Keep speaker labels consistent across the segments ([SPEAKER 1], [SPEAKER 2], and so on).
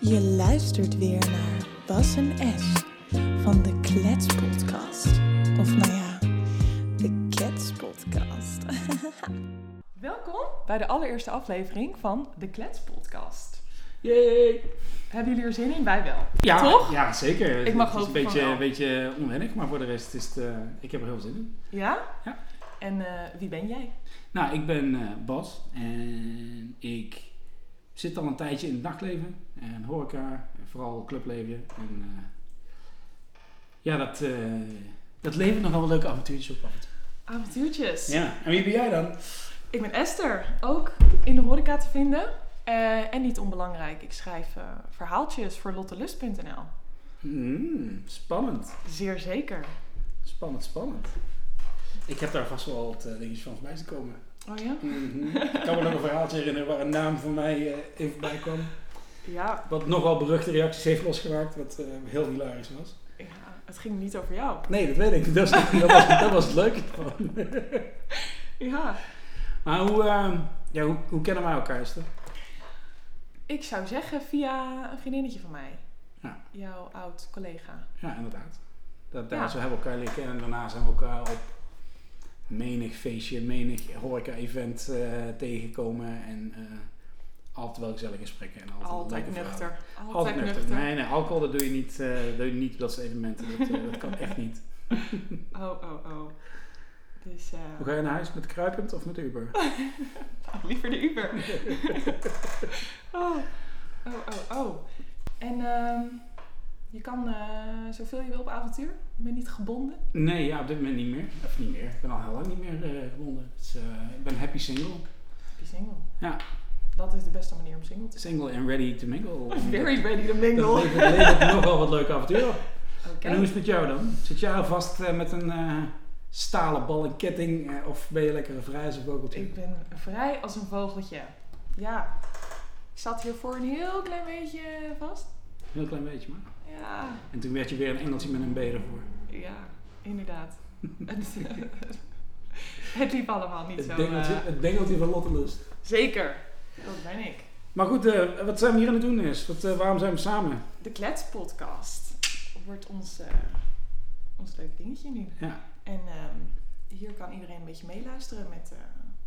[SPEAKER 1] Je luistert weer naar Bas en S van de Klets Podcast. Of nou ja, de Klets Podcast.
[SPEAKER 2] Welkom bij de allereerste aflevering van de Klets Podcast.
[SPEAKER 3] Yay!
[SPEAKER 2] Hebben jullie er zin in? Wij wel.
[SPEAKER 3] Ja,
[SPEAKER 2] Toch?
[SPEAKER 3] Ja, zeker.
[SPEAKER 2] Ik mag
[SPEAKER 3] het is
[SPEAKER 2] hopen
[SPEAKER 3] een beetje,
[SPEAKER 2] van wel.
[SPEAKER 3] een beetje onwennig, maar voor de rest is het, eh, ik heb er heel zin in.
[SPEAKER 2] Ja?
[SPEAKER 3] Ja.
[SPEAKER 2] En eh, wie ben jij?
[SPEAKER 3] Nou, ik ben eh, Bas en ik zit al een tijdje in het nachtleven en horeca, en vooral clubleven. En eh, ja, dat, eh dat levert nogal wel leuke avontuurtjes op af en toe.
[SPEAKER 2] Avontuurtjes.
[SPEAKER 3] Ja, en wie ben jij dan?
[SPEAKER 2] Ik ben Esther, ook in de horeca te vinden. Eh, en niet onbelangrijk, ik schrijf eh, verhaaltjes voor lottelust.nl.
[SPEAKER 3] Mm, spannend,
[SPEAKER 2] Zeer zeker.
[SPEAKER 3] spannend, spannend. Ik heb daar vast wel wat eh, dingetjes van voorbij zien komen.
[SPEAKER 2] Oh ja?
[SPEAKER 3] Mhm. Ik kan me nog een verhaaltje herinneren waar een naam voor mij eh, even bij kwam.
[SPEAKER 2] Ja.
[SPEAKER 3] Wat nogal beruchte reacties heeft losgemaakt, wat eh, heel hilarisch was.
[SPEAKER 2] ja. Het ging niet over jou.
[SPEAKER 3] Nee, dat weet ik. Dat was, dat was, dat was het leuke ervan.
[SPEAKER 2] Ja.
[SPEAKER 3] Maar hoe, eh, ja, hoe, hoe kennen wij elkaar, Esther?
[SPEAKER 2] Ik zou zeggen via een vriendinnetje van mij.
[SPEAKER 3] Ja.
[SPEAKER 2] Jouw oud collega.
[SPEAKER 3] Ja, inderdaad. Dat,
[SPEAKER 2] Ja.
[SPEAKER 3] daar zo hebben we elkaar leren kennen en daarna zijn we elkaar op menig feestje, menig horeca-event eh, tegengekomen. En eh, altijd wel gezellige gesprekken. En altijd,
[SPEAKER 2] Altijd
[SPEAKER 3] leuke verhalen.
[SPEAKER 2] nuchter. Altijd,
[SPEAKER 3] Altijd nuchter.
[SPEAKER 2] nuchter.
[SPEAKER 3] Nee, nee, alcohol dat doe je niet, eh, dat doe je niet op dat soort evenementen. Dat, eh, dat kan echt niet.
[SPEAKER 2] Oh, oh, oh. Dus eh,
[SPEAKER 3] Hoe ga je naar huis? Met kruipend of met Uber?
[SPEAKER 2] liever de Uber. oh. oh, oh, oh. En ehm, je kan eh, zoveel je wil op avontuur. Je bent niet gebonden.
[SPEAKER 3] Nee, ja, op dit moment niet meer. Of niet meer. Ik ben al heel lang niet meer eh, gebonden. Dus, eh, ik ben happy single.
[SPEAKER 2] Heb je single.
[SPEAKER 3] Ja.
[SPEAKER 2] Dat is de beste manier om single te
[SPEAKER 3] Single and ready to mingle.
[SPEAKER 2] zijn. Oh, Very ready to
[SPEAKER 3] Dat
[SPEAKER 2] mingle. Oké.
[SPEAKER 3] levert, levert nogal wat leuke avonturen. op. En hoe is het met jou dan? Zit jij vast eh, met een eh, stalen bal en ketting? eh, of ben je lekker een vrijze vogeltje?
[SPEAKER 2] Ik ben vrij als een vogeltje. Ja. Ik zat hiervoor een heel klein beetje vast.
[SPEAKER 3] Heel klein beetje maar.
[SPEAKER 2] Ja.
[SPEAKER 3] En toen werd je weer een engeltje met een B ervoor.
[SPEAKER 2] Ja, inderdaad. het, het liep allemaal niet zo.
[SPEAKER 3] Het bengeltje,
[SPEAKER 2] eh,
[SPEAKER 3] het bengeltje van Lottelust.
[SPEAKER 2] zeker, dat ben ik.
[SPEAKER 3] Maar goed, eh, wat zijn we hier aan het doen is? Wat, eh, waarom zijn we samen?
[SPEAKER 2] De Kletspodcast wordt ons, eh, ons leuk dingetje nu.
[SPEAKER 3] Ja.
[SPEAKER 2] En ehm, hier kan iedereen een beetje meeluisteren met eh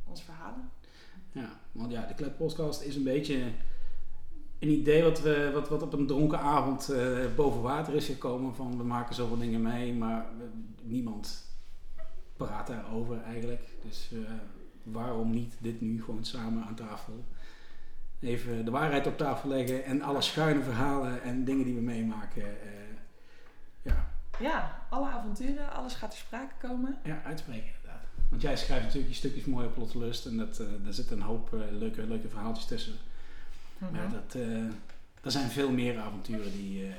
[SPEAKER 2] onze verhalen.
[SPEAKER 3] Ja, want ja, de Kletpodcast is een beetje een idee wat, we, wat, wat op een dronken avond eh, boven water is gekomen. Van we maken zoveel dingen mee, maar we- niemand praat daarover eigenlijk. Dus eh, waarom niet dit nu gewoon samen aan tafel? Even de waarheid op tafel leggen en alle schuine verhalen en dingen die we meemaken. eh, ja,
[SPEAKER 2] Ja, alle avonturen, alles gaat ter sprake komen.
[SPEAKER 3] ja, uitspreken inderdaad. Want jij schrijft natuurlijk je stukjes mooi op Lottelust en dat, eh, daar zitten een hoop eh, leuke, leuke verhaaltjes tussen.
[SPEAKER 2] Mhm.
[SPEAKER 3] Maar dat, eh, er zijn veel meer avonturen die, eh,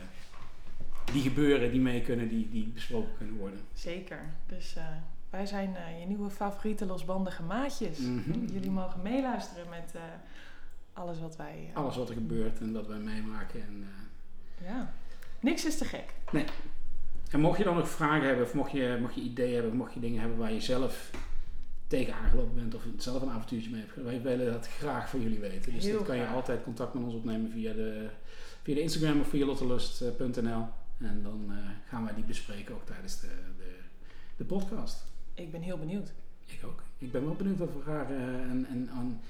[SPEAKER 3] die gebeuren, die mee kunnen, die, die besproken kunnen worden.
[SPEAKER 2] Zeker. Dus eh, wij zijn eh, je nieuwe favoriete losbandige maatjes.
[SPEAKER 3] Mhm.
[SPEAKER 2] Jullie mogen meeluisteren met eh, alles wat wij... eh,
[SPEAKER 3] Alles wat er gebeurt en dat wij meemaken. En, eh,
[SPEAKER 2] Ja. Niks is te gek.
[SPEAKER 3] en mocht je dan nog vragen hebben, of mocht je, mocht je ideeën hebben, of mocht je dingen hebben waar je zelf tegen aangelopen bent, of zelf een avontuurtje mee hebt, gedaan, wij willen dat graag van jullie weten. Dus
[SPEAKER 2] Heel
[SPEAKER 3] dat kan je
[SPEAKER 2] graag.
[SPEAKER 3] altijd contact met ons opnemen via de, via de Instagram of via eh, lottelust.nl. En dan eh, gaan wij die bespreken ook tijdens de, de, de podcast.
[SPEAKER 2] Ik ben heel benieuwd.
[SPEAKER 3] Ik ook. Ik ben wel benieuwd of we eh, rare en, en, en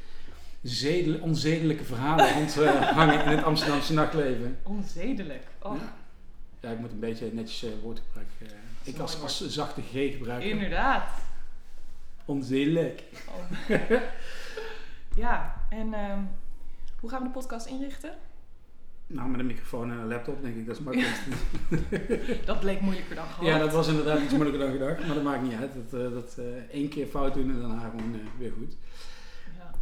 [SPEAKER 3] zedel- onzedelijke verhalen rondhangen in het Amsterdamse nachtleven.
[SPEAKER 2] Onzedelijk. Oh,
[SPEAKER 3] Ja. Ja, ik moet een beetje netjes eh, woordgebruik. eh, ik als,
[SPEAKER 2] mooi
[SPEAKER 3] als zachte G gebruiken.
[SPEAKER 2] inderdaad.
[SPEAKER 3] Onzedelijk.
[SPEAKER 2] Oh. ja, en ehm, hoe gaan we de podcast inrichten?
[SPEAKER 3] Nou, met een microfoon en een laptop denk ik, dat is makkelijk.
[SPEAKER 2] Dat bleek moeilijker dan gewoon.
[SPEAKER 3] ja, dat was inderdaad iets moeilijker dan gedacht, maar dat maakt niet uit. Dat, eh, dat eh, één keer fout doen en daarna gewoon eh, weer goed.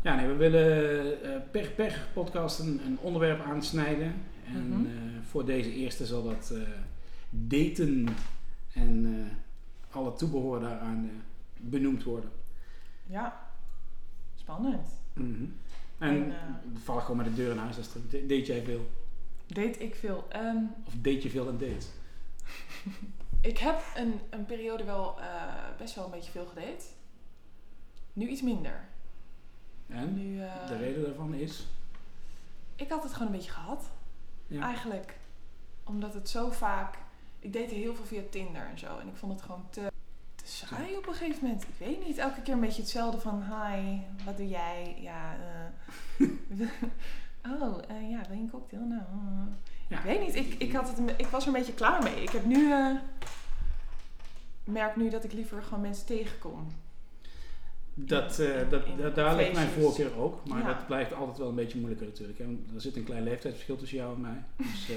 [SPEAKER 3] Ja, nee, we willen eh, per, per podcast een, een onderwerp aansnijden. En
[SPEAKER 2] Mhm.
[SPEAKER 3] eh, voor deze eerste zal dat eh, daten en eh, alle toebehoren daaraan eh, benoemd worden.
[SPEAKER 2] Ja. spannend.
[SPEAKER 3] En
[SPEAKER 2] En, eh,
[SPEAKER 3] we vallen gewoon met de deur in huis. Dat is terug. Date jij veel?
[SPEAKER 2] Deed ik veel. Ehm,
[SPEAKER 3] Of date je veel en date?
[SPEAKER 2] ik heb een, een periode wel eh, best wel een beetje veel gedate. Nu iets minder.
[SPEAKER 3] En
[SPEAKER 2] Nu, eh,
[SPEAKER 3] de reden daarvan is?
[SPEAKER 2] ik had het gewoon een beetje gehad.
[SPEAKER 3] Ja.
[SPEAKER 2] Eigenlijk omdat het zo vaak. Ik deed heel veel via Tinder en zo. En ik vond het gewoon te, te saai op een gegeven moment. Ik weet niet. Elke keer een beetje hetzelfde van hi, wat doe jij? Ja, eh, oh, eh, ja, wil je een cocktail? Nou. eh.
[SPEAKER 3] Ja.
[SPEAKER 2] Ik weet niet. Ik, ik, had het, een- ik was er een beetje klaar mee. Ik heb nu. eh, merk nu dat ik liever gewoon mensen tegenkom.
[SPEAKER 3] Dat, eh, dat,
[SPEAKER 2] In
[SPEAKER 3] dat, daar ligt mijn
[SPEAKER 2] feestjes.
[SPEAKER 3] voorkeur ook. Maar
[SPEAKER 2] Ja.
[SPEAKER 3] dat blijft altijd wel een beetje moeilijker natuurlijk. hè. Want Er zit een klein leeftijdsverschil tussen jou en mij. Dus, eh,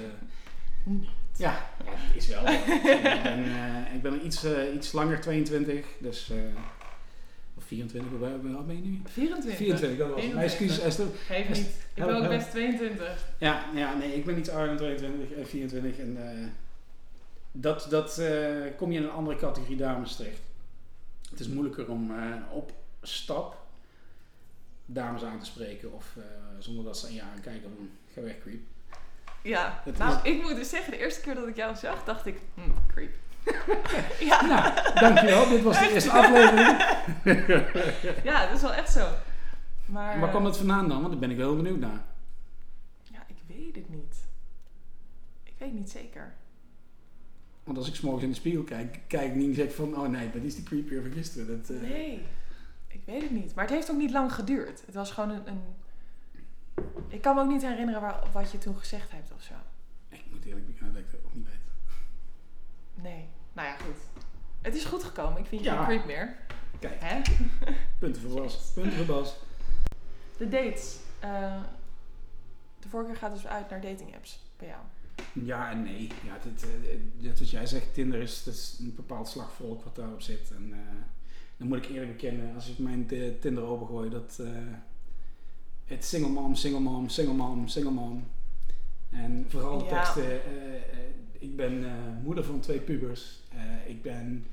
[SPEAKER 2] Niet.
[SPEAKER 3] ja, ja, dat is wel. wel. ik ben, eh, ik ben iets, eh, iets langer, 22. Dus, eh, of 24, hoe ben- hoe oud ben je nu?
[SPEAKER 2] 24.
[SPEAKER 3] 24, dat was het. Mijn excuses Esther.
[SPEAKER 2] Geef niet. Ik ben
[SPEAKER 3] Help,
[SPEAKER 2] ook
[SPEAKER 3] help.
[SPEAKER 2] best 22.
[SPEAKER 3] Ja, ja, nee, ik ben iets ouder dan 22 en 24. En eh, dat, dat eh, kom je in een andere categorie dames terecht. Het is moeilijker om eh, op stap dames aan te spreken of eh, zonder dat ze aan je aankijken van ga weg creep.
[SPEAKER 2] Ja,
[SPEAKER 3] Het
[SPEAKER 2] nou, ik moet dus zeggen, de eerste keer dat ik jou zag, dacht ik, hm, creep. ja,
[SPEAKER 3] Nou, dankjewel. Dit was de eerste aflevering.
[SPEAKER 2] ja, dat is wel echt zo. Maar,
[SPEAKER 3] Waar kwam
[SPEAKER 2] eh,
[SPEAKER 3] dat vandaan dan? Want daar ben ik wel heel benieuwd naar.
[SPEAKER 2] Ja, ik weet het niet. Ik weet niet zeker.
[SPEAKER 3] Want als ik 's morgens in de spiegel kijk, kijk ik niet en zeg van oh nee, dat is die creepier van gisteren. Dat, eh,
[SPEAKER 2] Nee, ik weet het niet. Maar het heeft ook niet lang geduurd. Het was gewoon een... een... Ik kan me ook niet herinneren waar, wat je toen gezegd hebt of zo.
[SPEAKER 3] Ik moet eerlijk bekennen dat ik dat ook niet weet.
[SPEAKER 2] Nee. Nou ja, goed. Het is goed gekomen. Ik vind je
[SPEAKER 3] Ja.
[SPEAKER 2] geen creep meer.
[SPEAKER 3] Kijk,
[SPEAKER 2] Hè?
[SPEAKER 3] punten voor Bas. Punten voor Bas.
[SPEAKER 2] De dates. eh, de voorkeur gaat dus uit naar dating apps bij jou.
[SPEAKER 3] Ja en nee. Ja, dit, eh, dit wat jij zegt, Tinder is, dat is een bepaald slagvolk wat daarop zit. En eh, dan moet ik eerlijk bekennen, als ik mijn eh, Tinder opengooi, dat eh, het single mom, single mom, single mom, single mom. En vooral de
[SPEAKER 2] Ja.
[SPEAKER 3] teksten. eh, eh, ik ben eh, moeder van twee pubers. Eh, ik ben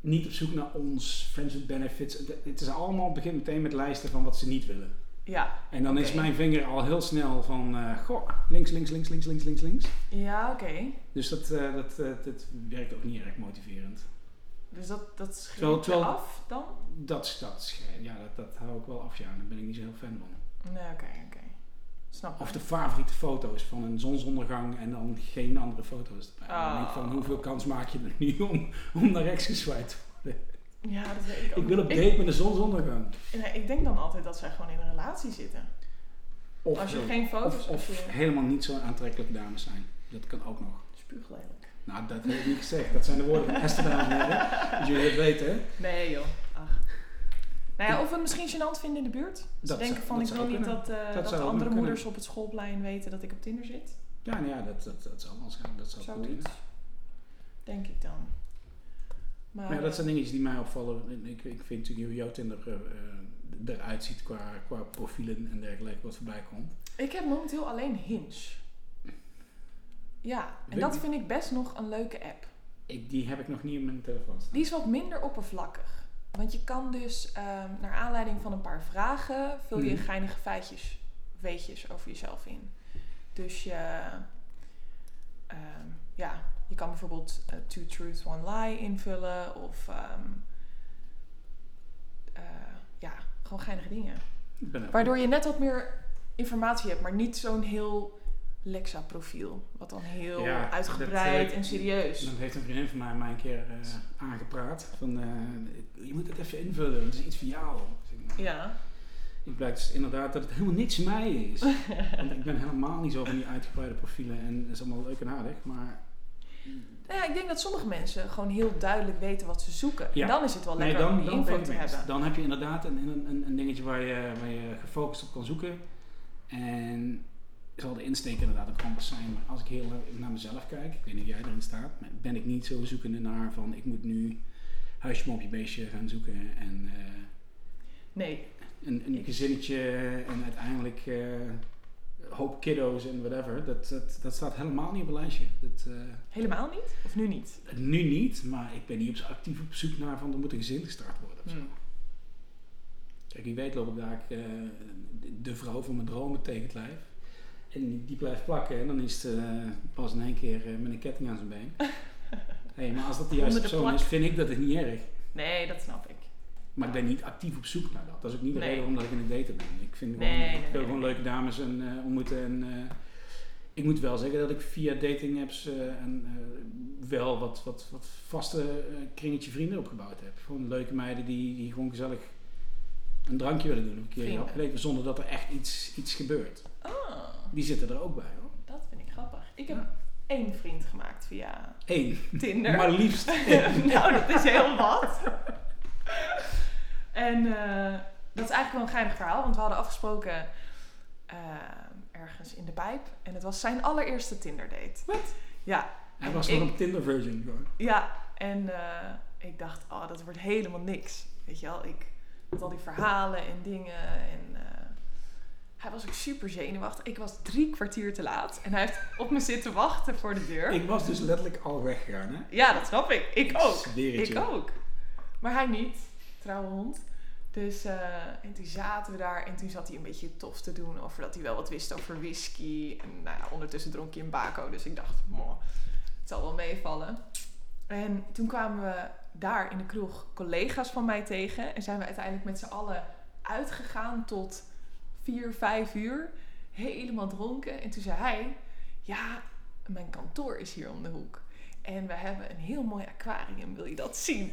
[SPEAKER 3] niet op zoek naar ons, friends with benefits. Het- Het is allemaal, begint meteen met lijsten van wat ze niet willen.
[SPEAKER 2] Ja.
[SPEAKER 3] En dan is
[SPEAKER 2] Oké.
[SPEAKER 3] mijn vinger al heel snel van, eh, goh, links, links, links, links, links, links, links.
[SPEAKER 2] Ja, oké.
[SPEAKER 3] Dus dat, eh, dat, eh, dat werkt ook niet erg motiverend.
[SPEAKER 2] Dus dat, dat schrik
[SPEAKER 3] Terwijl-
[SPEAKER 2] je
[SPEAKER 3] terwijl-
[SPEAKER 2] af dan?
[SPEAKER 3] Dat is dat. schijn- Ja, dat, dat hou ik wel af, ja. Daar ben ik niet zo heel fan van.
[SPEAKER 2] Nee, oké, oké. Snap
[SPEAKER 3] Of
[SPEAKER 2] ik.
[SPEAKER 3] de favoriete foto's van een zonsondergang en dan geen andere foto's erbij. Dan denk ik van,
[SPEAKER 2] Oh.
[SPEAKER 3] hoeveel kans maak je er nu om, om naar rechts geswijd te worden?
[SPEAKER 2] Ja, dat weet ik ook.
[SPEAKER 3] Ik wil op
[SPEAKER 2] ik,
[SPEAKER 3] date met een zonsondergang.
[SPEAKER 2] nee, ik denk dan altijd dat zij gewoon in een relatie zitten.
[SPEAKER 3] Of,
[SPEAKER 2] als je
[SPEAKER 3] eh,
[SPEAKER 2] geen foto's...
[SPEAKER 3] of,
[SPEAKER 2] als
[SPEAKER 3] of
[SPEAKER 2] je...
[SPEAKER 3] helemaal niet zo aantrekkelijke dames zijn. Dat kan ook nog.
[SPEAKER 2] Spuuglelijk.
[SPEAKER 3] Nou, dat heb ik niet gezegd. Dat zijn de woorden van Esther, dames en heren. Dat jullie dat weten, hè?
[SPEAKER 2] Nee, joh. Ach. Nou ja, of we het misschien gênant vinden in de buurt. Ze
[SPEAKER 3] Dat
[SPEAKER 2] denken
[SPEAKER 3] zou-
[SPEAKER 2] van,
[SPEAKER 3] dat
[SPEAKER 2] ik
[SPEAKER 3] zou
[SPEAKER 2] wil niet
[SPEAKER 3] kunnen.
[SPEAKER 2] dat, eh, dat,
[SPEAKER 3] zou
[SPEAKER 2] de
[SPEAKER 3] ook
[SPEAKER 2] andere
[SPEAKER 3] kunnen.
[SPEAKER 2] moeders op het schoolplein weten dat ik op Tinder zit.
[SPEAKER 3] Ja, nou ja, dat, dat, dat zal waarschijnlijk dat zal goed kunnen.
[SPEAKER 2] Zoiets. Denk ik dan. Maar, eh,
[SPEAKER 3] Maar ja, dat zijn dingetjes die mij opvallen. En Ik, ik vind natuurlijk hoe jouw Tinder eh, eh, eruit ziet qua, qua profielen en dergelijke wat voorbij komt.
[SPEAKER 2] Ik heb momenteel alleen Hinge. Ja, en
[SPEAKER 3] Weet
[SPEAKER 2] dat
[SPEAKER 3] ik.
[SPEAKER 2] vind ik best nog een leuke app.
[SPEAKER 3] Ik, die heb ik nog niet in mijn telefoon staan.
[SPEAKER 2] Die is wat minder oppervlakkig. Want je kan dus ehm, naar aanleiding van een paar vragen vul je
[SPEAKER 3] Mhm.
[SPEAKER 2] geinige feitjes, weetjes over jezelf in. Dus je, ehm, ja, je kan bijvoorbeeld eh, two truths, one lie invullen of ehm, eh, ja, gewoon geinige dingen.
[SPEAKER 3] Ik ben er-
[SPEAKER 2] Waardoor je net wat meer informatie hebt, maar niet zo'n heel Lexa-profiel. Wat dan heel
[SPEAKER 3] Ja, dat,
[SPEAKER 2] uitgebreid
[SPEAKER 3] eh,
[SPEAKER 2] en serieus.
[SPEAKER 3] Dat heeft een vriendin van mij mij een keer eh, aangepraat. Van, eh, je moet het even invullen, want het is iets voor jou. Dus ik, nou,
[SPEAKER 2] Ja.
[SPEAKER 3] Het blijkt dus inderdaad dat het helemaal niks voor mij is. want ik ben helemaal niet zo van die uitgebreide profielen en dat is allemaal leuk en aardig. Maar
[SPEAKER 2] Nou ja, ik denk dat sommige mensen gewoon heel duidelijk weten wat ze zoeken.
[SPEAKER 3] Ja.
[SPEAKER 2] En dan is het wel
[SPEAKER 3] nee,
[SPEAKER 2] lekker om
[SPEAKER 3] dan,
[SPEAKER 2] die
[SPEAKER 3] dan, ben
[SPEAKER 2] info
[SPEAKER 3] ik
[SPEAKER 2] te
[SPEAKER 3] het.
[SPEAKER 2] hebben.
[SPEAKER 3] dan heb je inderdaad een, een, een- een dingetje waar je, waar je gefocust op kan zoeken. En zal de insteek inderdaad ook anders zijn. Maar als ik heel erg naar mezelf kijk, ik weet niet of jij erin staat, maar ben ik niet zo zoekende naar van ik moet nu huisje, mopje, beestje gaan zoeken en eh,
[SPEAKER 2] Nee,
[SPEAKER 3] een, een gezinnetje en uiteindelijk eh, een hoop kiddo's en whatever. Dat, dat, dat staat helemaal niet op een lijstje. Dat, eh,
[SPEAKER 2] helemaal niet. Of nu niet.
[SPEAKER 3] nu niet, maar ik ben niet op, actief op zoek naar van er moet een gezin gestart worden of zo.
[SPEAKER 2] Hmm.
[SPEAKER 3] Kijk, wie weet loop ik daar eh, de vrouw van mijn dromen tegen het lijf. En die, die blijft plakken en dan is het eh, pas in één keer eh, met een ketting aan zijn been. hey, maar als dat de
[SPEAKER 2] Onder
[SPEAKER 3] juiste
[SPEAKER 2] de
[SPEAKER 3] persoon
[SPEAKER 2] plak.
[SPEAKER 3] is, vind ik dat het niet erg.
[SPEAKER 2] Nee, dat snap ik.
[SPEAKER 3] Maar ik ben niet actief op zoek naar dat. Dat is ook niet de
[SPEAKER 2] Nee.
[SPEAKER 3] reden waarom dat ik in het daten ben. Ik vind
[SPEAKER 2] Nee,
[SPEAKER 3] gewoon,
[SPEAKER 2] nee,
[SPEAKER 3] ik wil
[SPEAKER 2] nee,
[SPEAKER 3] gewoon
[SPEAKER 2] nee.
[SPEAKER 3] leuke dames en, eh, ontmoeten en eh, Ik moet wel zeggen dat ik via dating apps eh, en, eh, wel wat, wat, wat vaste eh, kringetje vrienden opgebouwd heb. Gewoon leuke meiden die, die gewoon gezellig een drankje willen doen. Een keer
[SPEAKER 2] Vrienden.
[SPEAKER 3] opleven zonder dat er echt iets, iets gebeurt.
[SPEAKER 2] Ah, Oh,
[SPEAKER 3] Die zitten er ook bij hoor.
[SPEAKER 2] dat vind ik grappig. Ik heb
[SPEAKER 3] Ja.
[SPEAKER 2] één vriend gemaakt via
[SPEAKER 3] Eén,
[SPEAKER 2] Tinder.
[SPEAKER 3] maar liefst één.
[SPEAKER 2] nou, dat is heel wat. en eh, dat is eigenlijk wel een geinig verhaal, want we hadden afgesproken eh, ergens in de pijp. En het was zijn allereerste Tinder-date. Wat? Ja,
[SPEAKER 3] Hij was nog
[SPEAKER 2] Ik-
[SPEAKER 3] een Tinder virgin gewoon.
[SPEAKER 2] ja. En eh, ik dacht, oh, dat wordt helemaal niks. Weet je wel, ik met al die verhalen en dingen. En eh, hij was ook super zenuwachtig. Ik was drie kwartier te laat en hij heeft op me zitten wachten voor de deur.
[SPEAKER 3] Ik was dus letterlijk al weggegaan hè.
[SPEAKER 2] Ja, dat snap ik. Ik ook.
[SPEAKER 3] zweer het
[SPEAKER 2] Ik
[SPEAKER 3] je.
[SPEAKER 2] ook. Maar hij niet, trouwe hond. Dus eh, en toen zaten we daar en toen zat hij een beetje tof te doen over dat hij wel wat wist over whisky. En nou ja, ondertussen dronk hij een bako, dus ik dacht, moh, het zal wel meevallen. En toen kwamen we daar in de kroeg collega's van mij tegen en zijn we uiteindelijk met z'n allen uitgegaan tot vier, vijf uur. Helemaal dronken. En toen zei hij, ja, mijn kantoor is hier om de hoek. En we hebben een heel mooi aquarium, wil je dat zien?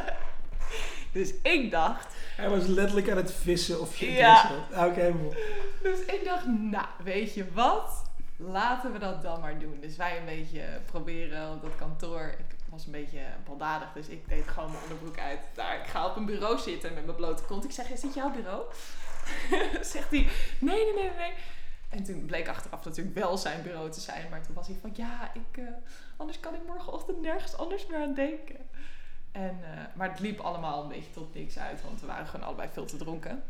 [SPEAKER 2] dus ik dacht,
[SPEAKER 3] Hij was letterlijk aan het vissen of je
[SPEAKER 2] Ja.
[SPEAKER 3] interesse had. Oké, mooi.
[SPEAKER 2] dus ik dacht, nou, weet je wat? Laten we dat dan maar doen. Dus wij een beetje proberen op dat kantoor. Ik was een beetje baldadig, dus ik deed gewoon mijn onderbroek uit. Daar, ik ga op een bureau zitten met mijn blote kont. Ik zeg, is dit jouw bureau? Zegt hij, nee, nee, nee, nee. En toen bleek achteraf natuurlijk wel zijn bureau te zijn. Maar toen was hij van, ja, ik, eh, anders kan ik morgenochtend nergens anders meer aan denken. En, eh, maar het liep allemaal een beetje tot niks uit, want we waren gewoon allebei veel te dronken.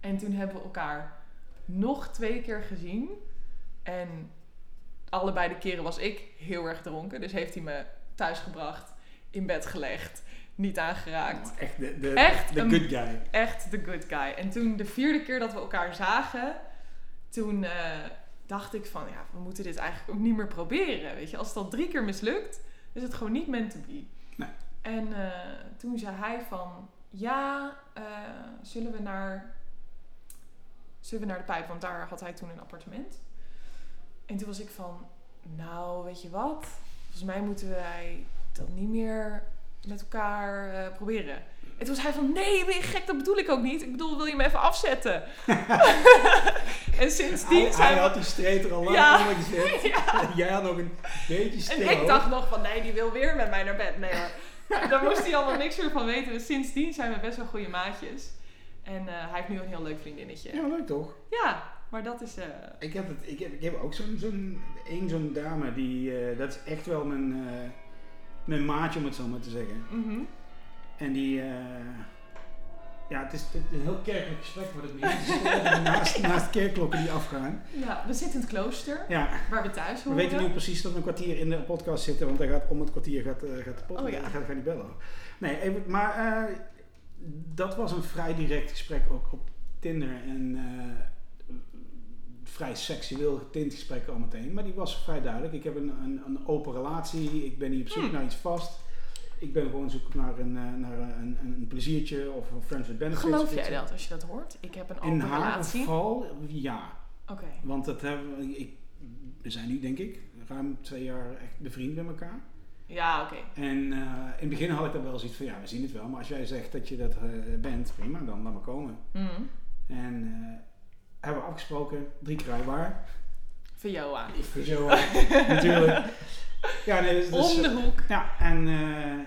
[SPEAKER 2] En toen hebben we elkaar nog twee keer gezien. En allebei de keren was ik heel erg dronken. Dus heeft hij me thuis gebracht, in bed gelegd, niet aangeraakt.
[SPEAKER 3] Echt de, de,
[SPEAKER 2] Echt
[SPEAKER 3] de
[SPEAKER 2] een-
[SPEAKER 3] good guy.
[SPEAKER 2] Echt the good guy. En toen de vierde keer dat we elkaar zagen, toen eh, dacht ik van ja, we moeten dit eigenlijk ook niet meer proberen. Weet je, als het al drie keer mislukt, is het gewoon niet meant to be.
[SPEAKER 3] Nee.
[SPEAKER 2] En eh, toen zei hij van ja, eh, zullen we naar. Zullen we naar de pijp? Want daar had hij toen een appartement. En toen was ik van, nou, weet je wat? Volgens mij moeten wij dat niet meer met elkaar eh, proberen. En toen was hij van, nee, ben je gek? Dat bedoel ik ook niet. Ik bedoel, wil je me even afzetten? en
[SPEAKER 3] Hij,
[SPEAKER 2] sindsdien zijn
[SPEAKER 3] hij
[SPEAKER 2] we...
[SPEAKER 3] had die street er al lang
[SPEAKER 2] Ja.
[SPEAKER 3] onder gezet. En Jij had nog een beetje stil.
[SPEAKER 2] En ik dacht nog van, nee, die wil weer met mij naar bed. Nee hoor. Daar moest hij allemaal niks meer van weten. Dus sindsdien zijn we best wel goede maatjes. En eh, hij heeft nu een heel leuk vriendinnetje. Ja,
[SPEAKER 3] Ja, leuk toch?
[SPEAKER 2] maar dat is... eh,
[SPEAKER 3] Ik heb, het, ik heb, ik heb ook zo'n zo'n één zo'n dame die. eh, dat is echt wel mijn, eh, mijn maatje, om het zo maar te zeggen.
[SPEAKER 2] mhm.
[SPEAKER 3] En die. eh, ja, het is, het is een heel kerkelijk gesprek wordt het nu. Het is gewoon naast, naast kerkklokken die afgaan.
[SPEAKER 2] Ja, we zitten in het klooster,
[SPEAKER 3] Ja,
[SPEAKER 2] waar we thuis
[SPEAKER 3] we
[SPEAKER 2] horen.
[SPEAKER 3] weten nu precies dat we een kwartier in de podcast zitten, want hij gaat, om het kwartier gaat, eh, gaat de podcast.
[SPEAKER 2] Oh ja.
[SPEAKER 3] gaat, gaat die bellen. Nee, even, maar eh, dat was een vrij direct gesprek ook op Tinder. En eh, vrij seksueel getint gesprek al meteen. Maar die was vrij duidelijk. Ik heb een, een, een open relatie. Ik ben niet op zoek
[SPEAKER 2] Hmm.
[SPEAKER 3] naar iets vast. Ik ben gewoon op zoek naar een, eh, naar een, een, een pleziertje of een friends with benefits.
[SPEAKER 2] Geloof
[SPEAKER 3] of iets.
[SPEAKER 2] jij dat als je dat hoort? Ik heb een
[SPEAKER 3] In
[SPEAKER 2] open
[SPEAKER 3] haar
[SPEAKER 2] relatie. Oké.
[SPEAKER 3] geval, ja. Want dat hebben we, ik, we zijn nu denk ik ruim twee jaar echt bevriend met elkaar.
[SPEAKER 2] Ja, oké.
[SPEAKER 3] En eh, in het begin had ik dan wel zoiets van, ja we zien het wel. Maar als jij zegt dat je dat eh, bent, prima, dan laat maar komen.
[SPEAKER 2] Mhm.
[SPEAKER 3] En eh, hebben we afgesproken, drie keer waar.
[SPEAKER 2] Vioa.
[SPEAKER 3] Voor zo eh, natuurlijk. Ja, nee, dus, dus,
[SPEAKER 2] Om de hoek.
[SPEAKER 3] ja, en eh,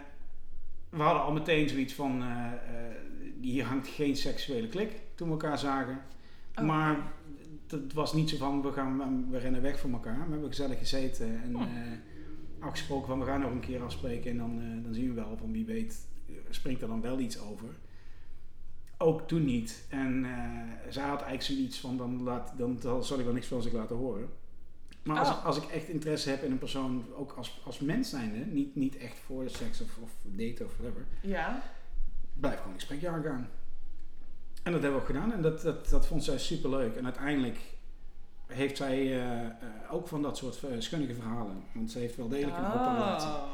[SPEAKER 3] we hadden al meteen zoiets van, eh, eh, hier hangt geen seksuele klik toen we elkaar zagen.
[SPEAKER 2] Oh.
[SPEAKER 3] Maar het was niet zo van, we, gaan, we rennen weg van elkaar. We hebben gezellig gezeten en
[SPEAKER 2] Oh.
[SPEAKER 3] eh, afgesproken van, we gaan nog een keer afspreken. En dan, eh, dan zien we wel, van wie weet, eh, springt er dan wel iets over. Ook toen niet. En eh, zij had eigenlijk zoiets van, dan, laat, dan, dan zal ik wel niks van zich laten horen. Maar als,
[SPEAKER 2] Oh.
[SPEAKER 3] als ik echt interesse heb in een persoon, ook als, als mens zijnde, niet, niet echt voor seks of, of daten of whatever,
[SPEAKER 2] Ja.
[SPEAKER 3] blijf gewoon een gesprekje aangaan. En dat hebben we ook gedaan en dat, dat, dat vond zij superleuk. En uiteindelijk heeft zij eh, eh, ook van dat soort eh, schunnige verhalen. Want ze heeft wel degelijk een open relatie.
[SPEAKER 2] Oh.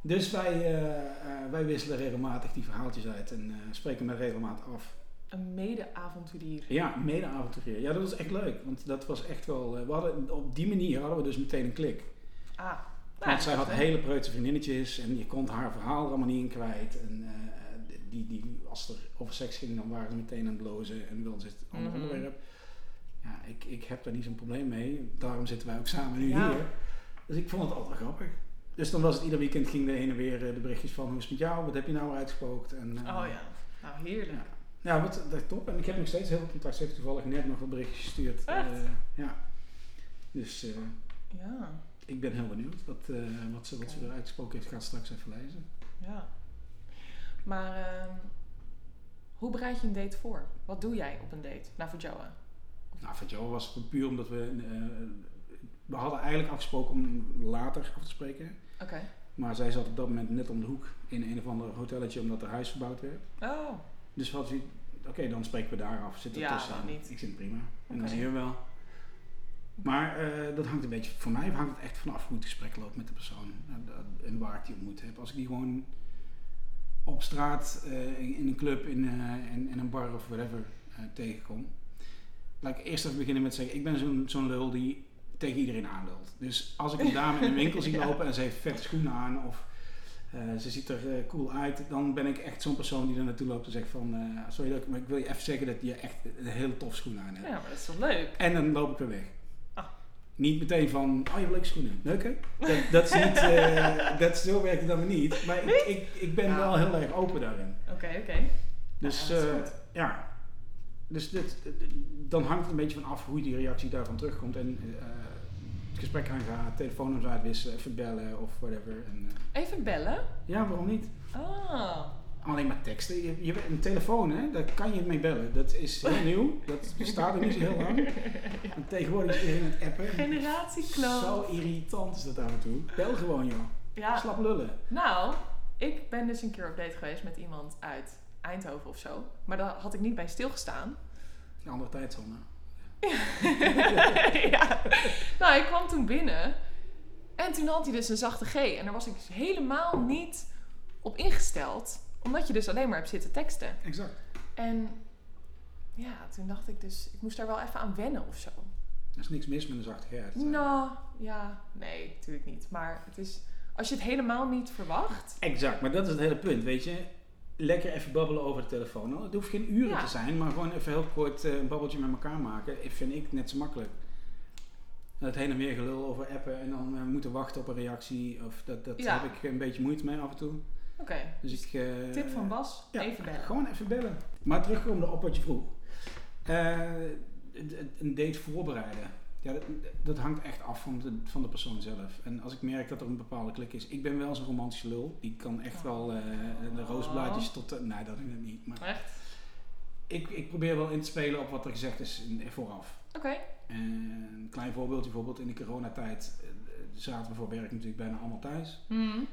[SPEAKER 3] Dus wij, eh, eh, wij wisselen regelmatig die verhaaltjes uit en eh, spreken met regelmaat af.
[SPEAKER 2] Een mede-avonturier.
[SPEAKER 3] Ja, mede-avonturier. Ja, dat was echt leuk. Want dat was echt wel... eh, we hadden, op die manier hadden we dus meteen een klik.
[SPEAKER 2] Ah.
[SPEAKER 3] Want zij had hele preutse vriendinnetjes en je kon haar verhaal er allemaal niet in kwijt. En eh, die, die, als het er over seks ging, dan waren ze meteen aan het blozen en wilden ze het ander
[SPEAKER 2] Mhm.
[SPEAKER 3] onderwerp. Ja, ik, ik heb daar niet zo'n probleem mee. Daarom zitten wij ook samen nu
[SPEAKER 2] Ja.
[SPEAKER 3] hier. Dus ik vond het altijd grappig. Dus dan was het ieder weekend ging de heen en weer eh, de berichtjes van hoe is het met jou, wat heb je nou uitgespookt. En, eh,
[SPEAKER 2] Oh ja. Nou, heerlijk.
[SPEAKER 3] Ja, ja wat, dat top. En ik heb nog steeds heel veel contact. Ze heeft toevallig net nog een berichtje gestuurd.
[SPEAKER 2] Echt?
[SPEAKER 3] Eh, ja. Dus... eh,
[SPEAKER 2] Ja.
[SPEAKER 3] ik ben heel benieuwd wat, eh, wat, ze, wat ze
[SPEAKER 2] Oké.
[SPEAKER 3] weer uitgesproken heeft. Ga ik straks even lezen.
[SPEAKER 2] Ja. Maar ehm, hoe bereid je een date voor? Wat doe jij op een date? Nou, voor Joa.
[SPEAKER 3] Nou, van jou was het puur omdat we... eh, we hadden eigenlijk afgesproken om later af te spreken.
[SPEAKER 2] Oké.
[SPEAKER 3] Maar zij zat op dat moment net om de hoek in een of ander hotelletje omdat haar huis verbouwd werd.
[SPEAKER 2] Oh.
[SPEAKER 3] Dus we hadden zoiets, oké, dan spreken we daar af. Zit er
[SPEAKER 2] Ja,
[SPEAKER 3] tussen.
[SPEAKER 2] waarom niet?
[SPEAKER 3] Ik vind het prima. En
[SPEAKER 2] Oké.
[SPEAKER 3] dan zien we wel. Maar eh, dat hangt een beetje, voor mij hangt het echt vanaf hoe het gesprek loopt met de persoon. En, dat- en waar ik die ontmoet heb. Als ik die gewoon op straat, eh, in, in een club, in, eh, in, in een bar of whatever eh, tegenkom. Laat ik eerst even beginnen met zeggen, ik ben zo'n zo'n lul die tegen iedereen aanlult. Dus als ik een dame in een winkel zie
[SPEAKER 2] Ja.
[SPEAKER 3] lopen en ze heeft vette schoenen aan of eh, ze ziet er eh, cool uit, dan ben ik echt zo'n persoon die er naartoe loopt en zegt van, eh, sorry dat ik, maar ik wil je even zeggen dat je echt een hele tof schoen aan hebt.
[SPEAKER 2] Ja, maar dat is toch leuk?
[SPEAKER 3] En dan loop ik weer weg.
[SPEAKER 2] Ah.
[SPEAKER 3] Niet meteen van, oh je hebt leuke schoenen. Leuk hè? Dat, dat is niet, eh, dat, zo werkt het dan weer niet. Maar ik, ik, ik ben
[SPEAKER 2] Ja.
[SPEAKER 3] wel heel erg open daarin.
[SPEAKER 2] Oké, oké.
[SPEAKER 3] Dus
[SPEAKER 2] Ja, dat is
[SPEAKER 3] eh,
[SPEAKER 2] goed.
[SPEAKER 3] ja. Dus dit, dit- dan hangt het een beetje van af hoe die reactie daarvan terugkomt. En eh, het gesprek aangaat, telefoonnummers uitwisselen, even bellen of whatever. En, eh,
[SPEAKER 2] Even bellen.
[SPEAKER 3] ja, waarom niet?
[SPEAKER 2] Ah.
[SPEAKER 3] Alleen maar teksten. Je, je, een telefoon, hè, daar kan je mee bellen. Dat is heel nieuw. Dat bestaat er niet zo heel lang. En tegenwoordig is iedereen aan het appen. Zo
[SPEAKER 2] Generatiekloof.
[SPEAKER 3] irritant is dat af en toe. Bel gewoon, joh.
[SPEAKER 2] Ja.
[SPEAKER 3] Slap lullen.
[SPEAKER 2] Nou, ik ben dus een keer op date geweest met iemand uit Eindhoven of zo. Maar daar had ik niet bij stilgestaan.
[SPEAKER 3] Een andere tijdzone.
[SPEAKER 2] ja. Nou, ik kwam toen binnen. En toen had hij dus een zachte G. En daar was ik dus helemaal niet op ingesteld. Omdat je dus alleen maar hebt zitten teksten.
[SPEAKER 3] Exact.
[SPEAKER 2] En ja, toen dacht ik dus... Ik moest daar wel even aan wennen of zo.
[SPEAKER 3] Er is niks mis met een zachte geit.
[SPEAKER 2] Nou, ja. Nee, natuurlijk niet. Maar het is... Als je het helemaal niet verwacht...
[SPEAKER 3] Exact, maar dat is het hele punt, weet je. Lekker even babbelen over de telefoon. Nou, Het hoeft geen uren
[SPEAKER 2] Ja.
[SPEAKER 3] te zijn, maar gewoon even heel kort eh, een babbeltje met elkaar maken. eh, Vind ik net zo makkelijk. Dat heen en weer gelul over appen en dan eh, moeten wachten op een reactie. Of dat, dat
[SPEAKER 2] Ja.
[SPEAKER 3] heb ik een beetje moeite mee af en toe.
[SPEAKER 2] Oké.
[SPEAKER 3] Dus ik, eh,
[SPEAKER 2] Tip van Bas.
[SPEAKER 3] ja,
[SPEAKER 2] even bellen.
[SPEAKER 3] Gewoon even bellen. Maar terugkomende op wat je vroeg. Eh, het- het- een date voorbereiden. Ja, dat, dat hangt echt af van de, van de persoon zelf. En als ik merk dat er een bepaalde klik is. Ik ben wel zo'n romantische lul. Die kan echt wel eh, de roosblaadjes tot... de- nee, dat doe ik niet. Maar
[SPEAKER 2] Echt?
[SPEAKER 3] ik, ik probeer wel in te spelen op wat er gezegd is in, eh, vooraf.
[SPEAKER 2] Oké.
[SPEAKER 3] En een klein voorbeeldje bijvoorbeeld. In de coronatijd eh, zaten we voor werk natuurlijk bijna allemaal thuis.
[SPEAKER 2] Hmm.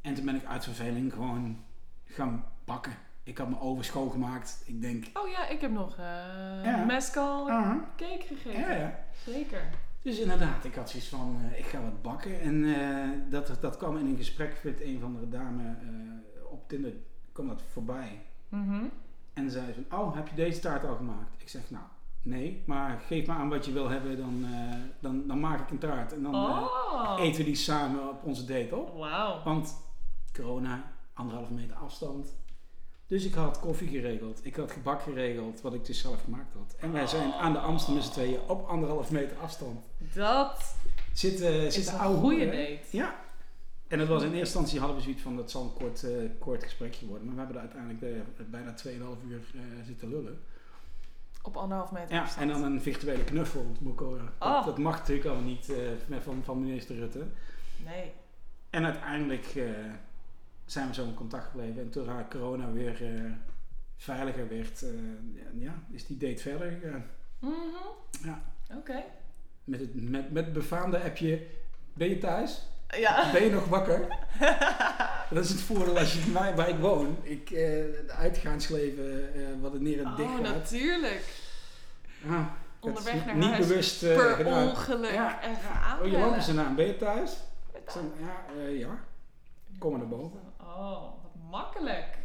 [SPEAKER 3] En toen ben ik uit verveling gewoon gaan bakken. Ik had mijn oven schoongemaakt. Ik denk...
[SPEAKER 2] Oh ja, ik heb nog eh
[SPEAKER 3] Ja.
[SPEAKER 2] mescal
[SPEAKER 3] ah,
[SPEAKER 2] cake gegeten.
[SPEAKER 3] Ja, ja.
[SPEAKER 2] Zeker.
[SPEAKER 3] Dus inderdaad, ik had zoiets van, eh, ik ga wat bakken. En eh, dat, dat kwam in een gesprek met een van de dame eh, op Tinder, kwam dat voorbij.
[SPEAKER 2] Mhm.
[SPEAKER 3] En zei ze van, oh, heb je deze taart al gemaakt? Ik zeg, nou, nee, maar geef me aan wat je wil hebben, dan, eh, dan, dan maak ik een taart. En dan eh,
[SPEAKER 2] Oh.
[SPEAKER 3] eten we die samen op onze date op.
[SPEAKER 2] Wauw.
[SPEAKER 3] Want corona, anderhalve meter afstand. Dus ik had koffie geregeld, ik had gebak geregeld, wat ik dus zelf gemaakt had. En wij zijn aan de Amstel met z'n tweeën op anderhalf meter afstand.
[SPEAKER 2] Dat
[SPEAKER 3] Zit, eh, zit
[SPEAKER 2] is
[SPEAKER 3] de
[SPEAKER 2] een
[SPEAKER 3] oude
[SPEAKER 2] goede
[SPEAKER 3] hoer, hè?
[SPEAKER 2] date.
[SPEAKER 3] Ja. En het was in eerste instantie hadden we zoiets van dat zal een kort, eh, kort gesprekje worden. Maar we hebben er uiteindelijk eh, bijna 2,5 uur eh, zitten lullen.
[SPEAKER 2] Op anderhalf meter
[SPEAKER 3] Ja, en
[SPEAKER 2] afstand.
[SPEAKER 3] dan eh, een virtuele knuffel. want Moko, eh, Dat,
[SPEAKER 2] Oh.
[SPEAKER 3] dat mag natuurlijk allemaal niet eh, met- van, van minister Rutte.
[SPEAKER 2] Nee.
[SPEAKER 3] En uiteindelijk eh, zijn we zo in contact gebleven. En toen haar corona weer eh, veiliger werd, eh, ja, ja, is die date verder gegaan.
[SPEAKER 2] Mhm.
[SPEAKER 3] Ja.
[SPEAKER 2] Oké.
[SPEAKER 3] Met het met, met het befaamde appje, ben je thuis?
[SPEAKER 2] Ja.
[SPEAKER 3] Ben je nog wakker? Dat is het voordeel als je waar, waar ik woon. Ik, eh, de uitgaansleven, eh, wat het neer en dicht
[SPEAKER 2] Oh,
[SPEAKER 3] gaat.
[SPEAKER 2] natuurlijk.
[SPEAKER 3] Ah, ik had
[SPEAKER 2] Onderweg
[SPEAKER 3] het
[SPEAKER 2] naar
[SPEAKER 3] niet
[SPEAKER 2] huis.
[SPEAKER 3] bewust eh,
[SPEAKER 2] Per
[SPEAKER 3] gedaan.
[SPEAKER 2] ongeluk.
[SPEAKER 3] Ja.
[SPEAKER 2] Even aanbellen.
[SPEAKER 3] Oh, je loopt zijn naam. Ben je thuis? Ik
[SPEAKER 2] Met-
[SPEAKER 3] zei, ja, eh, ja. Kom maar naar boven.
[SPEAKER 2] Oh, wat makkelijk.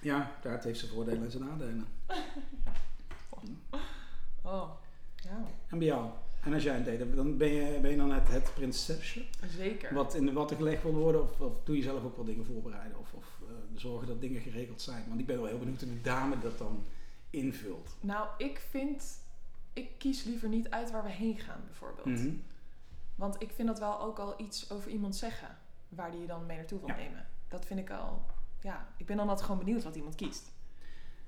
[SPEAKER 3] Ja, kaart heeft zijn voordelen en zijn nadelen.
[SPEAKER 2] Oh, ja,
[SPEAKER 3] En bij jou? En als jij een date hebt, dan ben je, ben je dan het, het prinsesje?
[SPEAKER 2] zeker.
[SPEAKER 3] Wat in de watten gelegd wil worden? Of, of doe je zelf ook wel dingen voorbereiden? Of, of eh, zorgen dat dingen geregeld zijn? Want ik ben wel heel benieuwd hoe de dame dat dan invult.
[SPEAKER 2] Nou, ik vind, ik kies liever niet uit waar we heen gaan bijvoorbeeld.
[SPEAKER 3] Mhm.
[SPEAKER 2] Want ik vind dat wel ook al iets over iemand zeggen. Waar die je dan mee naartoe wil
[SPEAKER 3] Ja.
[SPEAKER 2] nemen. Dat vind ik al. Ja, ik ben dan altijd gewoon benieuwd wat iemand kiest.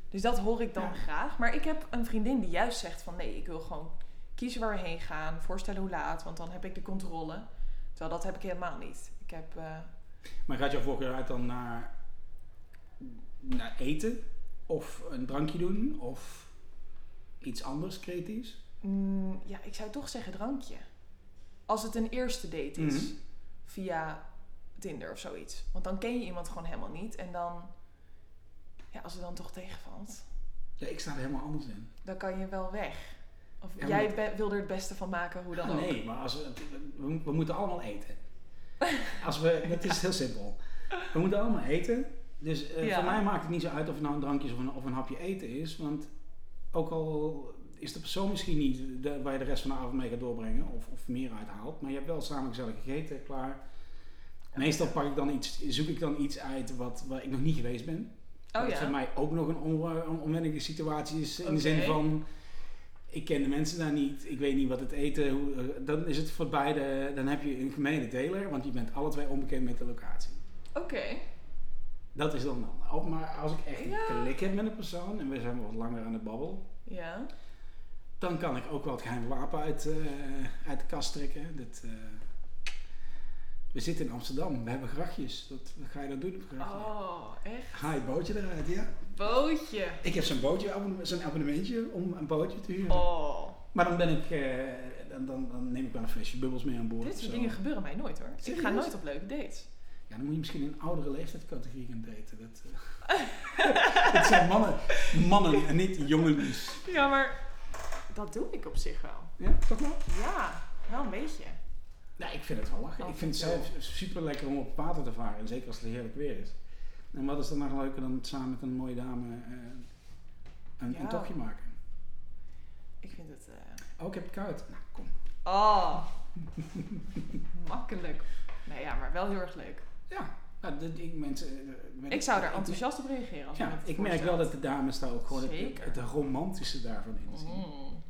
[SPEAKER 2] Dus dat hoor ik dan
[SPEAKER 3] Ja.
[SPEAKER 2] graag. Maar ik heb een vriendin die juist zegt van nee, ik wil gewoon kiezen waar we heen gaan. Voorstellen hoe laat, want dan heb ik de controle. Terwijl dat heb ik helemaal niet. Ik heb. eh,
[SPEAKER 3] Maar gaat jouw voorkeur uit dan naar, naar eten? Of een drankje doen? Of iets anders creatiefs?
[SPEAKER 2] Mm, ja, ik zou toch zeggen drankje. Als het een eerste date is.
[SPEAKER 3] Mhm.
[SPEAKER 2] Via Tinder of zoiets. Want dan ken je iemand gewoon helemaal niet. En dan... Ja, als het dan toch tegenvalt.
[SPEAKER 3] Ja, ik sta er helemaal anders in.
[SPEAKER 2] Dan kan je wel weg. Of
[SPEAKER 3] Ja, maar
[SPEAKER 2] jij
[SPEAKER 3] dat-
[SPEAKER 2] be- wil er het beste van maken, hoe dan
[SPEAKER 3] Ah,
[SPEAKER 2] ook.
[SPEAKER 3] nee, maar als we, we, we moeten allemaal eten. Als we, dat is heel simpel. We moeten allemaal eten. Dus eh,
[SPEAKER 2] Ja.
[SPEAKER 3] voor mij maakt het niet zo uit of het nou een drankje is of een, of een hapje eten is. Want ook al is de persoon misschien niet de- waar je de rest van de avond mee gaat doorbrengen of, of meer uithaalt. Maar je hebt wel samen gezellig gegeten, klaar. Meestal pak ik dan iets, zoek ik dan iets uit wat, waar ik nog niet geweest ben.
[SPEAKER 2] Oh
[SPEAKER 3] dat
[SPEAKER 2] ja.
[SPEAKER 3] voor mij ook nog een on- on- onwennige situatie is. In de zin
[SPEAKER 2] Oké.
[SPEAKER 3] van, ik ken de mensen daar niet. Ik weet niet wat het eten... Hoe, eh, dan is het voor beide... Dan heb je een gemene deler. Want je bent alle twee onbekend met de locatie.
[SPEAKER 2] Oké.
[SPEAKER 3] Dat is dan dan. Ook maar als ik echt
[SPEAKER 2] Ja.
[SPEAKER 3] een klik heb met een persoon... En we zijn wat langer aan de babbel...
[SPEAKER 2] Ja.
[SPEAKER 3] Dan kan ik ook wel het geheim wapen uit, eh, uit de kast trekken. Dat, eh, we zitten in Amsterdam. We hebben grachtjes. Dat, wat ga je dan doen op grachtje?
[SPEAKER 2] Oh, echt?
[SPEAKER 3] Ga je bootje eruit, ja?
[SPEAKER 2] Bootje.
[SPEAKER 3] Ik heb zo'n bootje, abonne- zo'n abonnementje om een bootje te huren.
[SPEAKER 2] Oh.
[SPEAKER 3] Maar dan ben ik, eh, dan, dan, dan neem ik wel een flesje bubbels mee aan boord.
[SPEAKER 2] Dit
[SPEAKER 3] of
[SPEAKER 2] soort
[SPEAKER 3] zo.
[SPEAKER 2] dingen gebeuren mij nooit hoor. Ik ga
[SPEAKER 3] Serieus?
[SPEAKER 2] nooit op leuke dates.
[SPEAKER 3] Ja, dan moet je misschien in een oudere leeftijdscategorie gaan daten. Dat, eh, het zijn mannen, mannen en niet jongens.
[SPEAKER 2] Ja, maar... Dat doe ik op zich wel.
[SPEAKER 3] Ja, toch wel?
[SPEAKER 2] Ja, wel een beetje.
[SPEAKER 3] Ja, ik vind het wel lachen.
[SPEAKER 2] Oh,
[SPEAKER 3] ik vind het
[SPEAKER 2] vind ik
[SPEAKER 3] zelf super lekker om op het water te varen. en Zeker als het heerlijk weer is. En wat is dan nog leuker dan samen met een mooie dame eh, een,
[SPEAKER 2] Ja.
[SPEAKER 3] een tochtje maken?
[SPEAKER 2] Ik vind het. eh,
[SPEAKER 3] Oh, ik heb het koud. Nou, kom.
[SPEAKER 2] Oh! Makkelijk. Nee, ja, maar wel heel erg leuk.
[SPEAKER 3] Ja, nou, dit, ik, mensen, eh, ben-
[SPEAKER 2] Ik zou daar
[SPEAKER 3] ik-
[SPEAKER 2] enthousiast op reageren als
[SPEAKER 3] Ja,
[SPEAKER 2] iemand het
[SPEAKER 3] ik merk wel
[SPEAKER 2] voorstelt.
[SPEAKER 3] dat de dames daar ook gewoon het,
[SPEAKER 2] Zeker.
[SPEAKER 3] het romantische daarvan in zien.
[SPEAKER 2] Mm.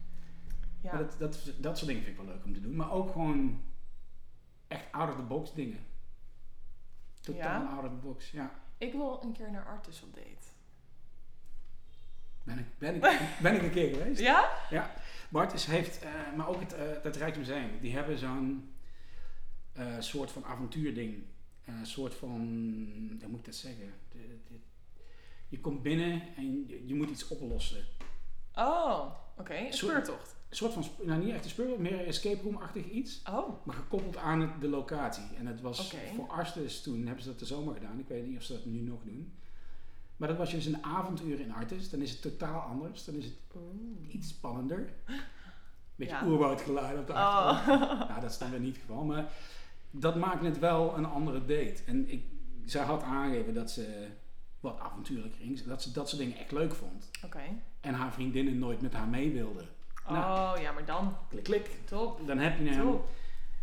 [SPEAKER 2] Ja.
[SPEAKER 3] Maar dat, dat, dat soort dingen vind ik wel leuk om te doen. Maar ook gewoon echt out of the box dingen. Totaal
[SPEAKER 2] Ja?
[SPEAKER 3] out of the box, ja.
[SPEAKER 2] Ik wil een keer naar Artus op date.
[SPEAKER 3] Ben ik, ben ik, ben ik een keer geweest.
[SPEAKER 2] Ja?
[SPEAKER 3] Bart is, heeft, eh, maar ook het, eh het Rijksmuseum, die hebben zo'n eh, soort van avontuurding. Een soort van, hoe moet ik dat zeggen? De- de- je komt binnen en je- je moet iets oplossen.
[SPEAKER 2] Oh, oké. Een
[SPEAKER 3] Soort-
[SPEAKER 2] speurtocht.
[SPEAKER 3] Een soort van, sp- nou niet echt een speel, meer een escape room-achtig iets.
[SPEAKER 2] Oh,
[SPEAKER 3] Maar gekoppeld aan het- de locatie. En het was
[SPEAKER 2] Oké.
[SPEAKER 3] voor Artes toen, hebben ze dat de zomer gedaan. Ik weet niet of ze dat nu nog doen. Maar dat was dus een avonduur in Artes. Dan is het totaal anders. Dan is het iets spannender. Beetje
[SPEAKER 2] Ja.
[SPEAKER 3] oerwoudgeluid op de achtergrond.
[SPEAKER 2] Oh.
[SPEAKER 3] Nou, dat is dan weer niet het geval. Maar dat maakt het wel een andere date. En ik, zij had aangegeven dat ze wat avontuurlijk ging. Dat ze dat soort dingen echt leuk vond.
[SPEAKER 2] Oké.
[SPEAKER 3] En haar vriendinnen nooit met haar mee wilden. Nou.
[SPEAKER 2] Oh, ja, maar dan.
[SPEAKER 3] Klik, klik.
[SPEAKER 2] Top.
[SPEAKER 3] Dan heb je hem.
[SPEAKER 2] Top.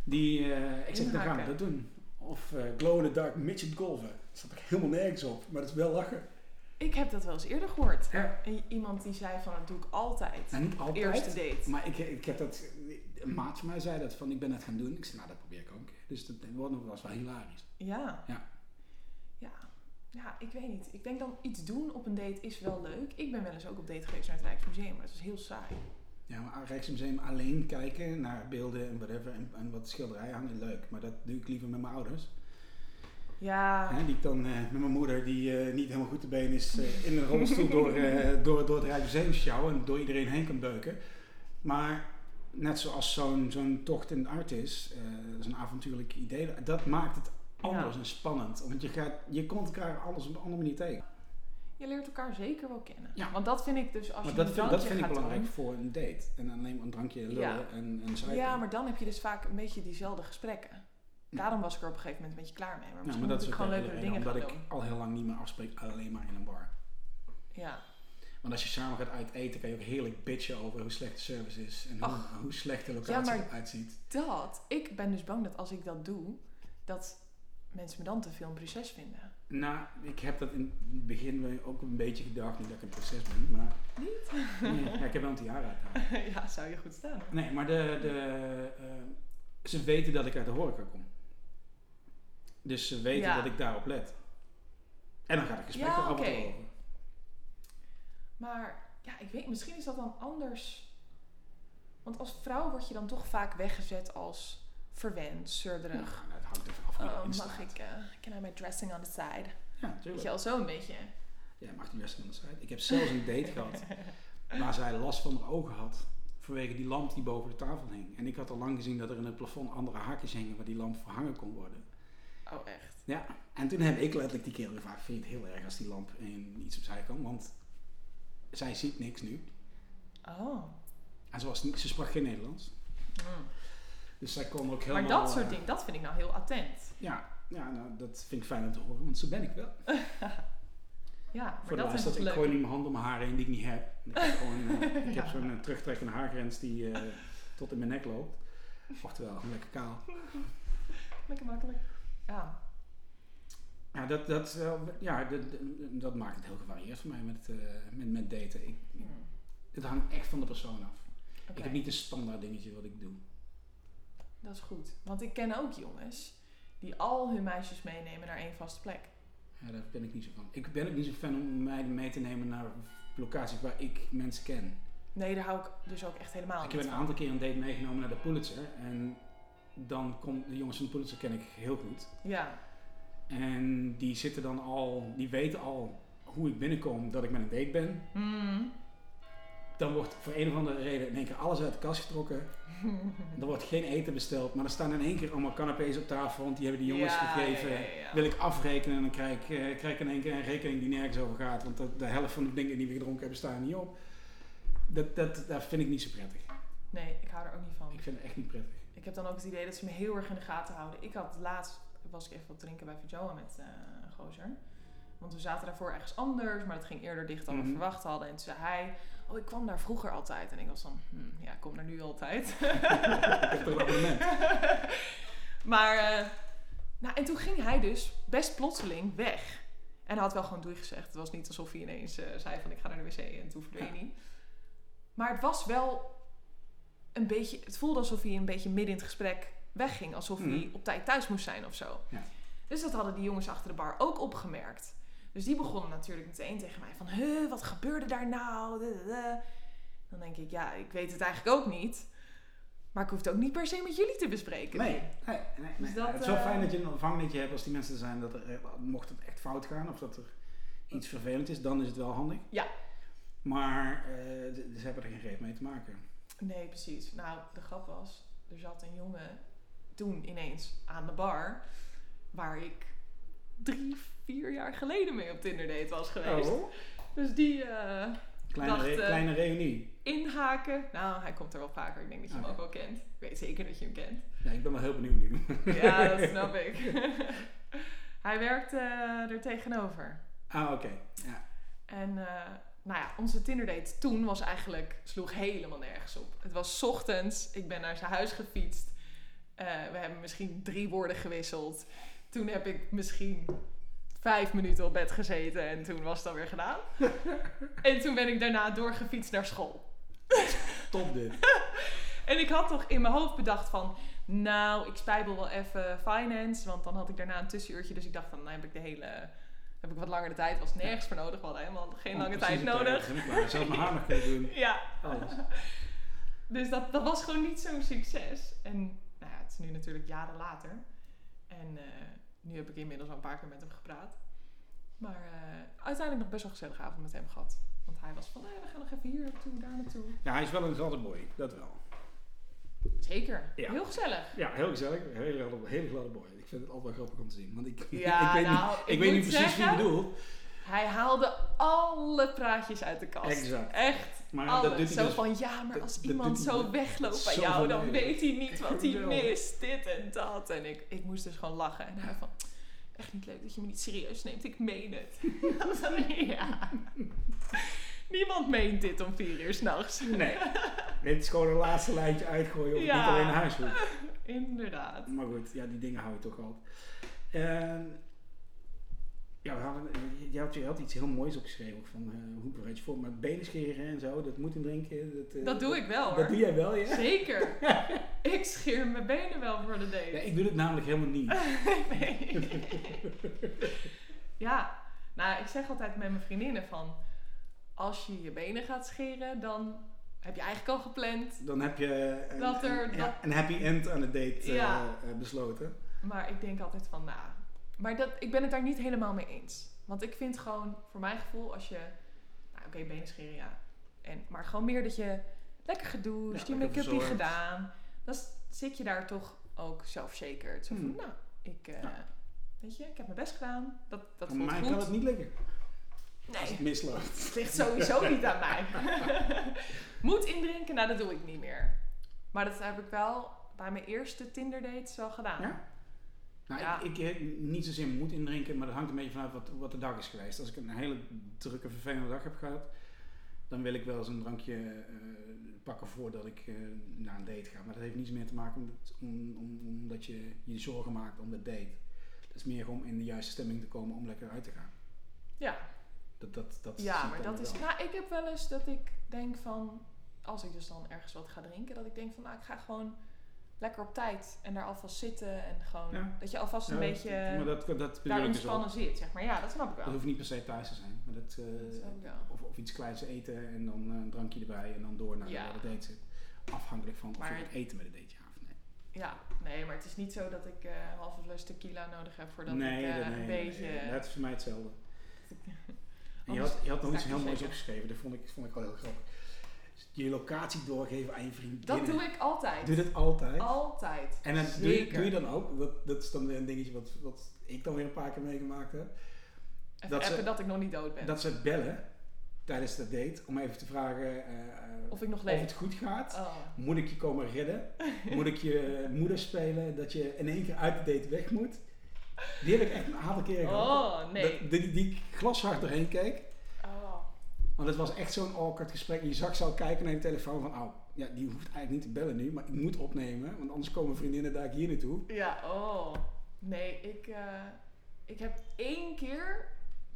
[SPEAKER 3] Die, eh, ik zeg, dan gaan we
[SPEAKER 2] Inhaken.
[SPEAKER 3] dat doen. Of eh, Glow in the Dark Midget Golven. Dat zat ik helemaal nergens op, maar dat is wel lachen.
[SPEAKER 2] Ik heb dat wel eens eerder gehoord.
[SPEAKER 3] Ja.
[SPEAKER 2] I- Iemand die zei van dat doe ik altijd.
[SPEAKER 3] Nou, niet altijd.
[SPEAKER 2] Eerste date.
[SPEAKER 3] Maar ik, ik heb dat, een maat van mij zei dat van, ik ben dat gaan doen. Ik zei, nou dat probeer ik ook een keer. Dus dat wordt nog- was wel hilarisch.
[SPEAKER 2] Ja.
[SPEAKER 3] Ja.
[SPEAKER 2] ja. Ja, ik weet niet. Ik denk dan iets doen op een date is wel leuk. Ik ben wel eens ook op date geweest naar het Rijksmuseum, maar dat was heel saai.
[SPEAKER 3] Ja, maar Rijksmuseum alleen kijken naar beelden en whatever en, en wat schilderijen hangen, leuk. Maar dat doe ik liever met mijn ouders.
[SPEAKER 2] Ja.
[SPEAKER 3] Hè, die ik dan eh, met mijn moeder, die eh, niet helemaal goed te been is, eh, in een rolstoel door, eh, door, door het Rijksmuseum sjouwen en door iedereen heen kan beuken. Maar net zoals zo'n zo'n tocht in art is, eh, zo'n avontuurlijk idee, dat maakt het anders
[SPEAKER 2] Ja.
[SPEAKER 3] en spannend. Want je, gaat, je komt elkaar alles op een andere manier tegen.
[SPEAKER 2] Je leert elkaar zeker wel kennen.
[SPEAKER 3] Ja.
[SPEAKER 2] Want dat vind ik dus als
[SPEAKER 3] Maar
[SPEAKER 2] je
[SPEAKER 3] dat
[SPEAKER 2] een
[SPEAKER 3] vind,
[SPEAKER 2] drankje
[SPEAKER 3] dat vind ik
[SPEAKER 2] gaat
[SPEAKER 3] belangrijk
[SPEAKER 2] doen-
[SPEAKER 3] voor een date. En alleen maar een drankje lullen
[SPEAKER 2] Ja.
[SPEAKER 3] en, en zuipen.
[SPEAKER 2] Ja, maar dan heb je dus vaak een beetje diezelfde gesprekken. Daarom was ik er op een gegeven moment een beetje klaar mee. Maar
[SPEAKER 3] Ja,
[SPEAKER 2] misschien
[SPEAKER 3] maar
[SPEAKER 2] moet
[SPEAKER 3] dat is
[SPEAKER 2] ik
[SPEAKER 3] ook
[SPEAKER 2] gewoon
[SPEAKER 3] de hele
[SPEAKER 2] leukere
[SPEAKER 3] reden
[SPEAKER 2] dingen gaan
[SPEAKER 3] omdat ik
[SPEAKER 2] doen.
[SPEAKER 3] al heel lang niet meer afspreek alleen maar in een bar.
[SPEAKER 2] Ja.
[SPEAKER 3] Want als je samen gaat uiteten, kan je ook heerlijk bitchen over hoe slecht de service is. En hoe,
[SPEAKER 2] Ach.
[SPEAKER 3] hoe slecht de locatie
[SPEAKER 2] Ja, maar-
[SPEAKER 3] eruit ziet.
[SPEAKER 2] Dat, ik ben dus bang dat als ik dat doe, dat mensen me dan te veel een prinses vinden.
[SPEAKER 3] Nou, ik heb dat in het begin ook een beetje gedacht, niet dat ik een proces ben, maar
[SPEAKER 2] Niet?
[SPEAKER 3] nee, ja, ik heb wel een tiara uitgehaald.
[SPEAKER 2] ja, zou je goed staan.
[SPEAKER 3] Nee, maar de, de, eh, ze weten dat ik uit de horeca kom. Dus ze weten
[SPEAKER 2] Ja.
[SPEAKER 3] dat ik daarop let. En dan gaat het gesprek
[SPEAKER 2] Ja,
[SPEAKER 3] er af en toe
[SPEAKER 2] oké.
[SPEAKER 3] over.
[SPEAKER 2] Maar ja, ik weet, misschien is dat dan anders. Want als vrouw word je dan toch vaak weggezet als verwend,
[SPEAKER 3] Ja,
[SPEAKER 2] zeurderig.
[SPEAKER 3] dat hangt er vanaf. hoe je
[SPEAKER 2] Oh,
[SPEAKER 3] erin
[SPEAKER 2] mag
[SPEAKER 3] staat.
[SPEAKER 2] ik, eh can I have my dressing on the side?
[SPEAKER 3] Ja,
[SPEAKER 2] Weet
[SPEAKER 3] natuurlijk.
[SPEAKER 2] je al zo'n beetje.
[SPEAKER 3] Ja, mag die best aan de site. Ik heb zelfs een date gehad waar zij last van haar ogen had. Vanwege die lamp die boven de tafel hing. En ik had al lang gezien dat er in het plafond andere haakjes hingen waar die lamp verhangen kon worden.
[SPEAKER 2] Oh, echt?
[SPEAKER 3] Ja, en toen heb ik letterlijk die kerel gevraagd: Vind je het heel erg als die lamp in iets opzij kan? Want zij ziet niks nu.
[SPEAKER 2] Oh.
[SPEAKER 3] En ze, was niet, ze sprak geen Nederlands.
[SPEAKER 2] Mm.
[SPEAKER 3] Dus zij kon ook helemaal.
[SPEAKER 2] Maar dat
[SPEAKER 3] eh,
[SPEAKER 2] soort dingen, dat vind ik nou heel attent.
[SPEAKER 3] Ja, ja nou, dat vind ik fijn om te horen, want zo ben ik wel.
[SPEAKER 2] Ja, maar
[SPEAKER 3] Voor de
[SPEAKER 2] dat is
[SPEAKER 3] luisteraar,
[SPEAKER 2] toch
[SPEAKER 3] ik
[SPEAKER 2] leuk.
[SPEAKER 3] gooi niet mijn hand om mijn haren heen die ik niet heb. Ik heb, gewoon, eh, ik heb
[SPEAKER 2] Ja.
[SPEAKER 3] zo'n eh, terugtrekkende haargrens die eh, tot in mijn nek loopt. Oftewel, gewoon lekker kaal.
[SPEAKER 2] Lekker makkelijk. Ja.
[SPEAKER 3] Ja, dat, dat, is wel- ja, dat, dat maakt het heel gevarieerd voor mij met, eh, met, met daten. Ik,
[SPEAKER 2] Mm.
[SPEAKER 3] het hangt echt van de persoon af.
[SPEAKER 2] Oké.
[SPEAKER 3] Ik heb niet een standaard dingetje wat ik doe.
[SPEAKER 2] Dat is goed. Want ik ken ook jongens die al hun meisjes meenemen naar één vaste plek.
[SPEAKER 3] Ja, daar ben ik niet zo van. Ik ben ook niet zo fan om meiden mee te nemen naar locaties waar ik mensen ken.
[SPEAKER 2] Nee, daar hou ik dus ook echt helemaal
[SPEAKER 3] Ik
[SPEAKER 2] niet
[SPEAKER 3] heb een
[SPEAKER 2] van.
[SPEAKER 3] aantal keer een date meegenomen naar de Pulitzer. En dan komt de jongens van de Pulitzer ken ik heel goed.
[SPEAKER 2] Ja,
[SPEAKER 3] En die zitten dan al, die weten al hoe ik binnenkom dat ik met een date ben.
[SPEAKER 2] Mm.
[SPEAKER 3] Dan wordt voor een of andere reden in één keer alles uit de kast getrokken. Er wordt geen eten besteld, maar er staan in één keer allemaal canapés op tafel, want die hebben die jongens
[SPEAKER 2] Ja,
[SPEAKER 3] gegeven.
[SPEAKER 2] ja, ja, ja.
[SPEAKER 3] Wil ik afrekenen en dan krijg ik, eh, krijg ik in één keer een rekening die nergens over gaat, want dat- de helft van de dingen die we gedronken hebben staan niet op. Dat, dat, dat vind ik niet zo prettig.
[SPEAKER 2] Nee, ik hou er ook niet van.
[SPEAKER 3] Ik vind het echt niet prettig.
[SPEAKER 2] Ik heb dan ook het idee dat ze me heel erg in de gaten houden. Ik had laatst, was ik even wat drinken bij Vajoa met eh, een gozer. Want we zaten daarvoor ergens anders, maar dat ging eerder dicht dan we
[SPEAKER 3] Mhm.
[SPEAKER 2] verwacht hadden. En toen zei hij, oh ik kwam daar vroeger altijd. En ik was dan, "Hmm, ja ik kom er nu altijd.
[SPEAKER 3] Ik heb toch een abonnement.
[SPEAKER 2] maar, eh, nou en toen ging hij dus best plotseling weg. En hij had wel gewoon doei gezegd. Het was niet alsof hij ineens eh, zei van ik ga naar de wc en toen verdween hij. Maar het was wel een beetje, het voelde alsof hij een beetje midden in het gesprek wegging. Alsof
[SPEAKER 3] Mhm.
[SPEAKER 2] hij op tijd thuis moest zijn of zo.
[SPEAKER 3] Ja.
[SPEAKER 2] Dus dat hadden die jongens achter de bar ook opgemerkt. Dus die begonnen natuurlijk meteen tegen mij van, huh, wat gebeurde daar nou? Dadada. Dan denk ik, ja, ik weet het eigenlijk ook niet. Maar ik hoef het ook niet per se met jullie te bespreken.
[SPEAKER 3] Nee, nee, nee. nee.
[SPEAKER 2] Dus dat,
[SPEAKER 3] het is wel
[SPEAKER 2] eh,
[SPEAKER 3] fijn dat je een vangnetje hebt als die mensen er zijn dat er, eh, mocht het echt fout gaan of dat er iets vervelend is, dan is het wel handig.
[SPEAKER 2] Ja.
[SPEAKER 3] Maar eh, d- ze hebben er geen reet mee te maken.
[SPEAKER 2] Nee, precies. Nou, de grap was, er zat een jongen toen ineens aan de bar waar ik drie, vier jaar geleden mee op Tinder date was geweest.
[SPEAKER 3] Oh.
[SPEAKER 2] Dus die eh,
[SPEAKER 3] Kleine,
[SPEAKER 2] Dacht,
[SPEAKER 3] re-
[SPEAKER 2] eh,
[SPEAKER 3] kleine reunie.
[SPEAKER 2] inhaken. Nou, hij komt er wel vaker. Ik denk dat je hem
[SPEAKER 3] Oké.
[SPEAKER 2] ook wel kent. Ik weet zeker dat je hem kent.
[SPEAKER 3] Ja, ik ben wel heel benieuwd nu.
[SPEAKER 2] Ja, dat snap ik. hij werkt eh, er tegenover.
[SPEAKER 3] Ah, oké. Ja.
[SPEAKER 2] En eh, nou ja, onze Tinderdate toen was eigenlijk, sloeg helemaal nergens op. Het was 's ochtends, ik ben naar zijn huis gefietst. Eh, we hebben misschien drie woorden gewisseld. Toen heb ik misschien vijf minuten op bed gezeten en toen was dat weer gedaan. en toen ben ik daarna doorgefietst naar school.
[SPEAKER 3] Top dit.
[SPEAKER 2] En ik had toch in mijn hoofd bedacht van, nou, ik spijbel wel even finance, want dan had ik daarna een tussenuurtje. Dus ik dacht, dan heb ik de hele, heb ik wat langere tijd, was nergens voor nodig. We hadden helemaal geen lange
[SPEAKER 3] Om
[SPEAKER 2] tijd
[SPEAKER 3] Oh, precies op
[SPEAKER 2] nodig.
[SPEAKER 3] tijd te zijn. Ik wou zelf mijn haar nog kunnen doen.
[SPEAKER 2] Ja,
[SPEAKER 3] Alles.
[SPEAKER 2] dus dat, dat was gewoon niet zo'n succes. En nou ja, het is nu natuurlijk jaren later. En eh, nu heb ik inmiddels al een paar keer met hem gepraat. Maar eh, uiteindelijk nog best wel een gezellige avond met hem gehad. Want hij was van, "Nee, we gaan nog even hier naartoe, daar naartoe.
[SPEAKER 3] Ja, hij is wel een zatte boy. Dat wel.
[SPEAKER 2] Zeker,
[SPEAKER 3] Ja.
[SPEAKER 2] heel gezellig.
[SPEAKER 3] Ja, heel gezellig. Een hele, gladde- hele gladde boy. Ik vind het altijd wel grappig om te zien. Want ik,
[SPEAKER 2] Ja,
[SPEAKER 3] ik weet,
[SPEAKER 2] nou,
[SPEAKER 3] niet, ik
[SPEAKER 2] ik
[SPEAKER 3] weet
[SPEAKER 2] moet
[SPEAKER 3] niet precies
[SPEAKER 2] zeggen-
[SPEAKER 3] wie je bedoelt.
[SPEAKER 2] Hij haalde alle praatjes uit de kast.
[SPEAKER 3] Exact.
[SPEAKER 2] Echt,
[SPEAKER 3] Maar
[SPEAKER 2] alle.
[SPEAKER 3] dat doet hij
[SPEAKER 2] zo
[SPEAKER 3] dus
[SPEAKER 2] van, ja, maar
[SPEAKER 3] dat-
[SPEAKER 2] als
[SPEAKER 3] dat
[SPEAKER 2] iemand
[SPEAKER 3] doet hij
[SPEAKER 2] zo
[SPEAKER 3] met-
[SPEAKER 2] wegloopt bij
[SPEAKER 3] zo
[SPEAKER 2] jou, dan
[SPEAKER 3] verleidelijk.
[SPEAKER 2] weet hij niet wat hij
[SPEAKER 3] Jawel.
[SPEAKER 2] mist. Dit en dat. En ik, ik moest dus gewoon lachen. En hij van, Echt niet leuk dat je me niet serieus neemt. Ik meen het. ja. Niemand meent dit om vier uur s'nachts.
[SPEAKER 3] Nee. Dit is gewoon een laatste lijntje uitgooien of het
[SPEAKER 2] Ja.
[SPEAKER 3] niet alleen naar huis moet.
[SPEAKER 2] Inderdaad.
[SPEAKER 3] Maar goed, ja, die dingen hou je toch altijd. En, ja, we hadden, je, had, je had iets heel mooies opgeschreven ook van eh, hoe bereid je voor. Maar benen scheren en zo, dat moet in drinken. Dat, eh,
[SPEAKER 2] Dat doe ik wel
[SPEAKER 3] Dat doe
[SPEAKER 2] hoor.
[SPEAKER 3] jij wel, ja?
[SPEAKER 2] Zeker. Ik scheer mijn benen wel voor de date.
[SPEAKER 3] Ja, ik doe het namelijk helemaal niet.
[SPEAKER 2] Nee. ja, nou, ik zeg altijd met mijn vriendinnen van... Als je je benen gaat scheren, dan heb je eigenlijk al gepland.
[SPEAKER 3] Dan heb je eh, een,
[SPEAKER 2] Dat er-
[SPEAKER 3] een,
[SPEAKER 2] dat-
[SPEAKER 3] ja, een happy end aan het date eh,
[SPEAKER 2] Ja.
[SPEAKER 3] eh, besloten.
[SPEAKER 2] Maar ik denk altijd van, nou... Maar dat, ik ben het daar niet helemaal mee eens. Want ik vind gewoon, voor mijn gevoel, als je... Nou, oké, benen scheren, ja. En, maar gewoon meer dat je lekker gedoucht,
[SPEAKER 3] Ja,
[SPEAKER 2] je
[SPEAKER 3] lekker
[SPEAKER 2] make-upje
[SPEAKER 3] verzorgd.
[SPEAKER 2] gedaan. Dan s- zit je daar toch ook zelfverzekerd. Zo van,
[SPEAKER 3] Hmm.
[SPEAKER 2] nou, ik... eh,
[SPEAKER 3] Ja.
[SPEAKER 2] Weet je, ik heb mijn best gedaan. Dat, dat
[SPEAKER 3] Aan
[SPEAKER 2] voelt
[SPEAKER 3] mij
[SPEAKER 2] goed.
[SPEAKER 3] kan het niet lukken als
[SPEAKER 2] Nee,
[SPEAKER 3] het misloopt.
[SPEAKER 2] Het ligt sowieso niet aan mij. Moet indrinken, nou dat doe ik niet meer. Maar dat heb ik wel bij mijn eerste Tinder dates wel gedaan.
[SPEAKER 3] Ja? Nou,
[SPEAKER 2] Ja.
[SPEAKER 3] ik, ik heb niet zozeer moed indrinken, maar dat hangt een beetje vanuit wat, wat de dag is geweest. Als ik een hele drukke, vervelende dag heb gehad, dan wil ik wel eens een drankje eh, pakken voordat ik eh, naar een date ga. Maar dat heeft niets meer te maken met, om, om, omdat je je zorgen maakt om de date. Dat is meer om in de juiste stemming te komen om lekker uit te gaan.
[SPEAKER 2] Ja,
[SPEAKER 3] Dat, dat, dat zie
[SPEAKER 2] ja
[SPEAKER 3] ik
[SPEAKER 2] maar
[SPEAKER 3] dan
[SPEAKER 2] dat is.
[SPEAKER 3] wel.
[SPEAKER 2] Nou, ik heb wel eens dat ik denk van. Als ik dus dan ergens wat ga drinken, dat ik denk van, nou, ik ga gewoon lekker op tijd en daar alvast zitten. En gewoon.
[SPEAKER 3] Ja.
[SPEAKER 2] Dat je alvast een
[SPEAKER 3] Ja,
[SPEAKER 2] beetje
[SPEAKER 3] Maar dat, dat, dat bedoel
[SPEAKER 2] daar
[SPEAKER 3] ik dus al.
[SPEAKER 2] ontspannen zit, zeg maar. Ja, dat snap ik
[SPEAKER 3] Dat
[SPEAKER 2] wel.
[SPEAKER 3] hoeft niet per se thuis te zijn. Maar dat, eh,
[SPEAKER 2] Dat snap ik wel.
[SPEAKER 3] of, of iets kleins eten en dan eh, een drankje erbij en dan door naar
[SPEAKER 2] Ja.
[SPEAKER 3] waar de date zit. Afhankelijk van of
[SPEAKER 2] Maar-
[SPEAKER 3] je het eten met de date ja of nee.
[SPEAKER 2] Ja, nee, maar het is niet zo dat ik eh, een halve fles tequila nodig heb voordat
[SPEAKER 3] nee,
[SPEAKER 2] ik eh,
[SPEAKER 3] nee,
[SPEAKER 2] een
[SPEAKER 3] nee,
[SPEAKER 2] beetje.
[SPEAKER 3] nee, dat is voor mij hetzelfde. En je
[SPEAKER 2] Anders
[SPEAKER 3] had, je had nog
[SPEAKER 2] sta
[SPEAKER 3] iets
[SPEAKER 2] ik
[SPEAKER 3] heel
[SPEAKER 2] te
[SPEAKER 3] moois
[SPEAKER 2] zeggen.
[SPEAKER 3] opgeschreven, dat vond ik, vond ik wel heel grappig. Je locatie doorgeven aan je vriend.
[SPEAKER 2] Dat doe ik altijd.
[SPEAKER 3] Doe dat altijd.
[SPEAKER 2] Altijd.
[SPEAKER 3] En dat doe je,
[SPEAKER 2] Zeker.
[SPEAKER 3] doe je dan ook, dat, dat is dan weer een dingetje wat, wat ik dan weer een paar keer meegemaakt heb.
[SPEAKER 2] Even
[SPEAKER 3] dat
[SPEAKER 2] dat,
[SPEAKER 3] ze-
[SPEAKER 2] dat ik nog niet dood ben.
[SPEAKER 3] Dat ze bellen tijdens de date om even te vragen eh, eh,
[SPEAKER 2] of ik nog
[SPEAKER 3] of
[SPEAKER 2] leef.
[SPEAKER 3] het goed gaat.
[SPEAKER 2] Oh.
[SPEAKER 3] Moet ik je komen redden? Moet ik je eh, moeder spelen? Dat je in één keer uit de date weg moet? Die heb ik echt een aantal keren gehad.
[SPEAKER 2] Oh, nee.
[SPEAKER 3] Dat- Die, die ik glashard doorheen keek.
[SPEAKER 2] Oh.
[SPEAKER 3] Want het was echt zo'n awkward gesprek. Je zag ze al kijken naar je telefoon van... Oh, ja, die hoeft eigenlijk niet te bellen nu, maar ik moet opnemen. Want anders komen vriendinnen daar hier naartoe.
[SPEAKER 2] Ja, oh. Nee, ik, eh, ik heb één keer...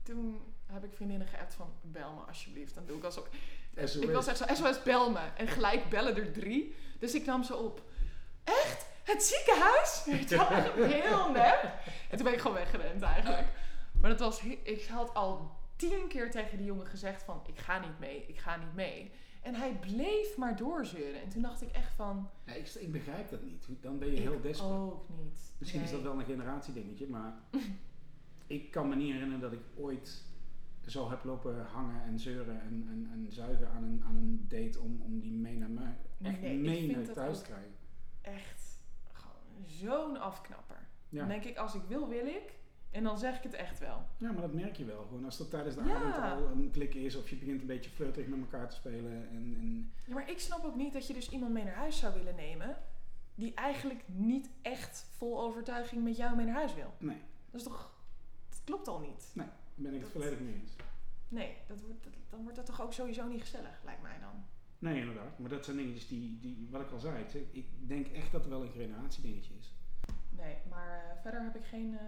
[SPEAKER 2] Toen heb ik vriendinnen geappt van... Bel me alsjeblieft. Dan doe ik alsof...
[SPEAKER 3] SOS.
[SPEAKER 2] Ik was echt zo... SOS, bel me. En gelijk bellen er drie. Dus ik nam ze op. Echt? Het ziekenhuis? Weet je wel, echt Heel nep. En toen ben ik gewoon weggerend eigenlijk. Maar dat was... he- Ik had al tien keer tegen die jongen gezegd van... Ik ga niet mee, ik ga niet mee. En hij bleef maar doorzeuren. En toen dacht ik echt van...
[SPEAKER 3] Nee, ik, ik begrijp dat niet. Hoe- Dan ben je
[SPEAKER 2] Ik
[SPEAKER 3] heel desperat.
[SPEAKER 2] Ook niet.
[SPEAKER 3] Misschien is
[SPEAKER 2] Nee.
[SPEAKER 3] dat wel een generatiedingetje, maar ik kan me niet herinneren dat ik ooit zo heb lopen hangen en zeuren en, en, en zuigen aan een, aan een date om, om die mee naar mij, echt
[SPEAKER 2] Nee, ik
[SPEAKER 3] mee
[SPEAKER 2] vind
[SPEAKER 3] naar
[SPEAKER 2] dat
[SPEAKER 3] thuis
[SPEAKER 2] ook-
[SPEAKER 3] te krijgen.
[SPEAKER 2] echt gewoon zo'n afknapper.
[SPEAKER 3] Ja.
[SPEAKER 2] Dan denk ik, als ik wil, wil ik. En dan zeg ik het echt wel.
[SPEAKER 3] ja, maar dat merk je wel. Gewoon als dat tijdens de
[SPEAKER 2] Ja.
[SPEAKER 3] avond al een klik is of je begint een beetje flirterig met elkaar te spelen. En, en,
[SPEAKER 2] Ja, maar ik snap ook niet dat je dus iemand mee naar huis zou willen nemen... die eigenlijk niet echt vol overtuiging met jou mee naar huis wil.
[SPEAKER 3] nee,
[SPEAKER 2] Dat is toch... Dat klopt al niet.
[SPEAKER 3] daar ben ik het
[SPEAKER 2] Dat-
[SPEAKER 3] volledig mee eens.
[SPEAKER 2] Nee, dat wordt, dat- dan wordt dat toch ook sowieso niet gezellig, lijkt mij dan.
[SPEAKER 3] Nee, inderdaad. Maar dat zijn dingetjes die, die wat ik al zei, ik zeg, ik denk echt dat het wel een generatiedingetje is.
[SPEAKER 2] Nee, maar eh, verder heb ik geen eh,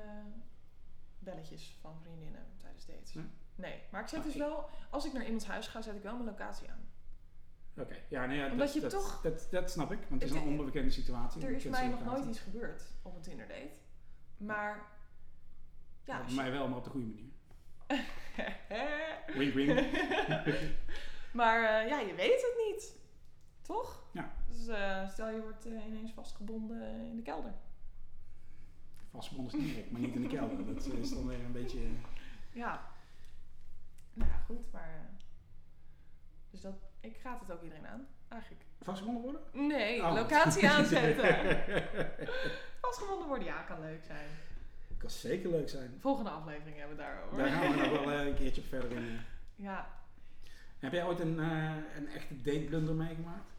[SPEAKER 2] belletjes van vriendinnen tijdens dates.
[SPEAKER 3] Nee?
[SPEAKER 2] Nee, maar ik zet
[SPEAKER 3] Ah,
[SPEAKER 2] dus
[SPEAKER 3] Hm. ik-
[SPEAKER 2] wel... Als ik naar iemands huis ga, zet ik wel mijn locatie aan.
[SPEAKER 3] Oké, ja, nee, ja,
[SPEAKER 2] Omdat
[SPEAKER 3] dat,
[SPEAKER 2] je
[SPEAKER 3] dat,
[SPEAKER 2] toch-
[SPEAKER 3] dat, dat snap ik, want het is
[SPEAKER 2] Het-
[SPEAKER 3] een onbekende situatie.
[SPEAKER 2] Er is
[SPEAKER 3] onbekende
[SPEAKER 2] mij nog
[SPEAKER 3] situatie.
[SPEAKER 2] nooit iets gebeurd op een Tinder-date. Maar. Ja,
[SPEAKER 3] Ja,
[SPEAKER 2] als je-
[SPEAKER 3] mij wel, maar op de goede manier. Wing
[SPEAKER 2] maar eh, ja, je weet het niet. Toch?
[SPEAKER 3] Ja.
[SPEAKER 2] Dus eh, stel je wordt eh, ineens vastgebonden in de kelder.
[SPEAKER 3] Vastgebonden is niet gek, maar niet in de kelder. Dat eh, is dan weer een beetje... eh,
[SPEAKER 2] Ja. Nou ja, goed, maar. eh, dus dat. Ik raad het ook iedereen aan, eigenlijk.
[SPEAKER 3] Vastgebonden worden?
[SPEAKER 2] Nee,
[SPEAKER 3] Oh.
[SPEAKER 2] locatie aanzetten. Vastgebonden worden, ja, kan leuk zijn.
[SPEAKER 3] kan zeker leuk zijn.
[SPEAKER 2] Volgende aflevering hebben we het daarover.
[SPEAKER 3] Daar gaan we nog wel eh, een keertje op verder in.
[SPEAKER 2] Ja,
[SPEAKER 3] Heb jij ooit een, eh, een echte dateblunder meegemaakt?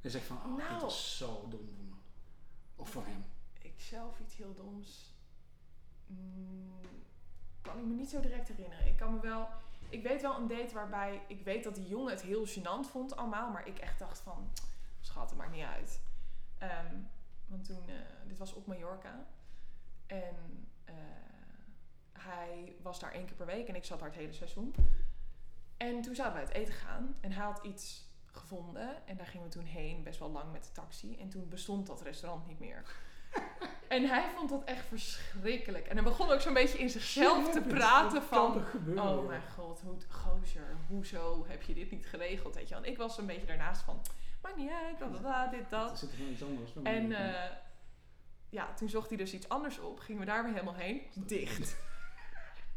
[SPEAKER 3] En zegt van, oh, dit
[SPEAKER 2] Nou.
[SPEAKER 3] was zo dom van me. Of van hem.
[SPEAKER 2] ik zelf iets heel doms. Mm, kan ik me niet zo direct herinneren. Ik kan me wel. Ik weet wel een date waarbij ik weet dat die jongen het heel gênant vond allemaal, maar ik echt dacht van, schat, het maakt niet uit. Ehm, want toen, eh, dit was op Mallorca en eh, hij was daar één keer per week en ik zat daar het hele seizoen. En toen zouden we uit eten gaan en hij had iets gevonden en daar gingen we toen heen, best wel lang met de taxi. En toen bestond dat restaurant niet meer. En hij vond dat echt verschrikkelijk. En hij begon ook zo'n beetje in zichzelf te
[SPEAKER 3] Shit,
[SPEAKER 2] praten
[SPEAKER 3] dat
[SPEAKER 2] van...
[SPEAKER 3] Kan er gebeuren.
[SPEAKER 2] Oh
[SPEAKER 3] joh.
[SPEAKER 2] mijn god, hoe, gozer, hoezo heb je dit niet geregeld? Weet je? wel? En ik was een beetje daarnaast van, maakt niet uit, bla bla bla, dit,
[SPEAKER 3] Er
[SPEAKER 2] dat.
[SPEAKER 3] zit er wel iets anders. dan
[SPEAKER 2] En
[SPEAKER 3] maar-
[SPEAKER 2] eh, ja, toen zocht hij dus iets anders op, gingen we daar weer helemaal heen, dicht.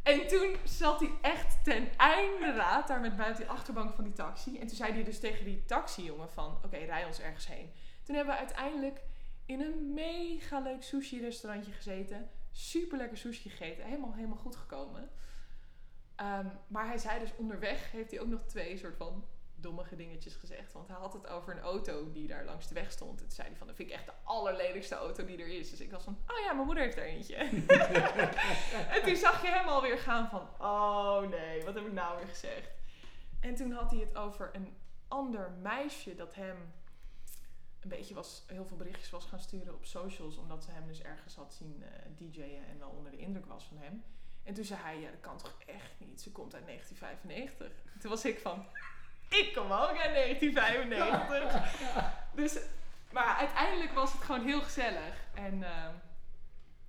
[SPEAKER 2] En toen zat hij echt ten einde raad daar met mij op die achterbank van die taxi. En toen zei hij dus tegen die taxijongen van, oké, rij ons ergens heen. Toen hebben we uiteindelijk in een mega leuk sushi restaurantje gezeten. Super lekker sushi gegeten. Helemaal, helemaal goed gekomen. Ehm, maar hij zei dus onderweg, heeft hij ook nog twee soort van dommige dingetjes gezegd. Want hij had het over een auto die daar langs de weg stond. En toen zei hij van, dat vind ik echt de allerlelijkste auto die er is. Dus ik was van, oh ja, mijn moeder heeft er eentje. en toen zag je hem alweer gaan van, oh nee, wat heb ik nou weer gezegd? En toen had hij het over een ander meisje dat hem een beetje was, heel veel berichtjes was gaan sturen op socials. Omdat ze hem dus ergens had zien eh DJ'en en wel onder de indruk was van hem. En toen zei hij, ja dat kan toch echt niet, ze komt uit 1995. Toen was ik van, ik kom ook uit 1995. dus, maar uiteindelijk was het gewoon heel gezellig. En ehm,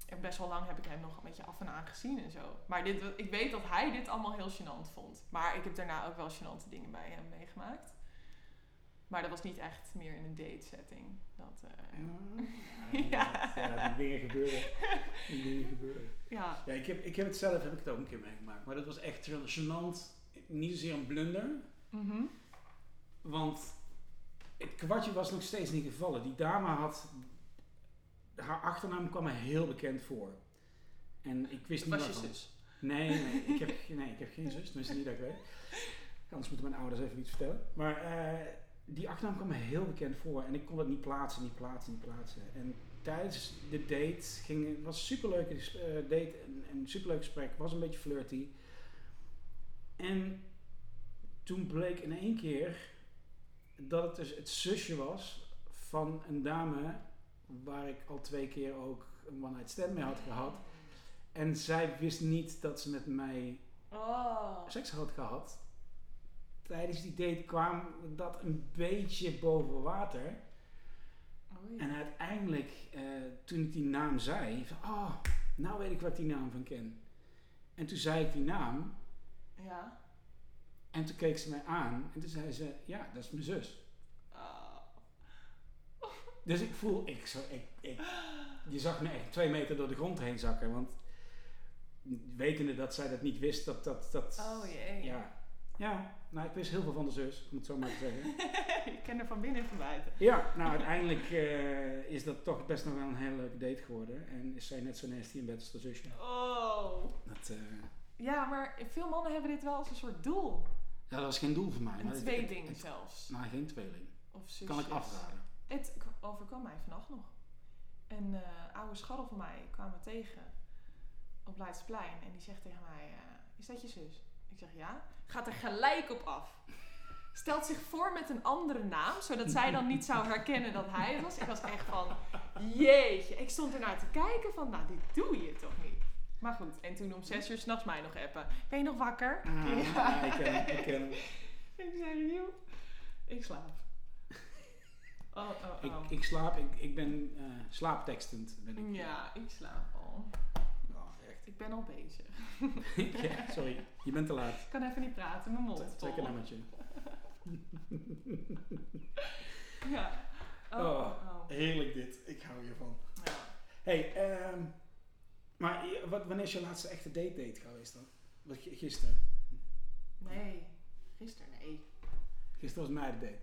[SPEAKER 2] en best wel lang heb ik hem nog een beetje af en aan gezien en zo. Maar dit, ik weet dat hij dit allemaal heel gênant vond. Maar ik heb daarna ook wel gênante dingen bij hem meegemaakt. Maar dat was niet echt meer in een date setting. Dat, eh,
[SPEAKER 3] Ja, ja, die dingen gebeuren. Die dingen gebeuren.
[SPEAKER 2] ja.
[SPEAKER 3] Ja, ik heb, ik heb het zelf heb ik het ook een keer meegemaakt. Maar dat was echt heel gênant. Niet zozeer een blunder.
[SPEAKER 2] Mhm.
[SPEAKER 3] Want het kwartje was nog steeds niet gevallen. Die dame had... Haar achternaam kwam me heel bekend voor. En ik wist
[SPEAKER 2] Dat
[SPEAKER 3] niet
[SPEAKER 2] was je
[SPEAKER 3] waarvan.
[SPEAKER 2] zus.
[SPEAKER 3] Nee, nee, ik heb, ge- nee, ik heb geen zus. Tenminste, niet dat ik weet. Anders moeten mijn ouders even iets vertellen. Maar eh, die achternaam kwam me heel bekend voor. En ik kon dat niet plaatsen, niet plaatsen, niet plaatsen. En tijdens de date ging... Het was een superleuke ges- eh, date. Een, een superleuk gesprek. Was een beetje flirty. En toen bleek in één keer... Dat het dus het zusje was van een dame... Waar ik al twee keer ook een one-night stand mee had gehad. En zij wist niet dat ze met mij
[SPEAKER 2] Oh.
[SPEAKER 3] seks had gehad. Tijdens die date kwam dat een beetje boven water.
[SPEAKER 2] Oei.
[SPEAKER 3] En uiteindelijk, eh, toen ik die naam zei, van, oh, nou weet ik wat die naam van ken. En toen zei ik die naam
[SPEAKER 2] Ja.
[SPEAKER 3] en toen keek ze mij aan en toen zei ze, ja, dat is mijn zus. Ah.
[SPEAKER 2] Oh.
[SPEAKER 3] Dus ik voel, ik, zo, ik, ik, je zag me echt twee meter door de grond heen zakken. Want wetende dat zij dat niet wist, dat dat... dat
[SPEAKER 2] Oh jee.
[SPEAKER 3] Ja. Ja, nou ik wist heel veel van de zus, om het zo maar te zeggen.
[SPEAKER 2] ik ken er van binnen en van buiten.
[SPEAKER 3] Ja, nou uiteindelijk eh, is dat toch best nog wel een hele leuke date geworden. En is zij net zo nasty in bed als de zusje.
[SPEAKER 2] Oh.
[SPEAKER 3] Dat, eh,
[SPEAKER 2] Ja, maar veel mannen hebben dit wel als een soort doel.
[SPEAKER 3] ja, dat was geen doel voor mij.
[SPEAKER 2] Een
[SPEAKER 3] maar het-
[SPEAKER 2] tweeling Dus
[SPEAKER 3] het-
[SPEAKER 2] zelfs.
[SPEAKER 3] het- Nou, geen tweeling.
[SPEAKER 2] Of zusjes.
[SPEAKER 3] Kan ik afraden.
[SPEAKER 2] Het k- overkwam mij vannacht nog. Een eh, oude scharrel van mij kwam me tegen op Leidseplein. En die zegt tegen mij, eh, is dat je zus? Ik zeg ja. Gaat er gelijk op af. Stelt zich voor met een andere naam, zodat zij dan niet zou herkennen dat hij het was. Ik was echt van, jeetje. Ik stond ernaar te kijken van, nou dit doe je toch niet. Maar goed, en toen om zes uur s'nachts mij nog appen. Ben je nog wakker?
[SPEAKER 3] Ah, ja, ik ken hem, ik ken hem.
[SPEAKER 2] Ik zei, nieuw. Ik slaap. Oh, oh, oh.
[SPEAKER 3] Ik, ik slaap, ik, ik ben eh, slaaptekstend. Ben ik.
[SPEAKER 2] Ja, ik slaap al.
[SPEAKER 3] Oh, echt.
[SPEAKER 2] Ik ben al bezig.
[SPEAKER 3] Ja, sorry, je bent te laat.
[SPEAKER 2] Ik kan even niet praten, mijn mond vol.
[SPEAKER 3] Trek een nummertje.
[SPEAKER 2] Ja. Oh,
[SPEAKER 3] Oh.
[SPEAKER 2] oh.
[SPEAKER 3] Heerlijk dit, ik hou hiervan.
[SPEAKER 2] Ja.
[SPEAKER 3] Hey, ehm, maar je- wat, wanneer is je laatste echte date date geweest dan? Wat, g- gisteren.
[SPEAKER 2] Nee, gisteren nee.
[SPEAKER 3] Gisteren was mijn date.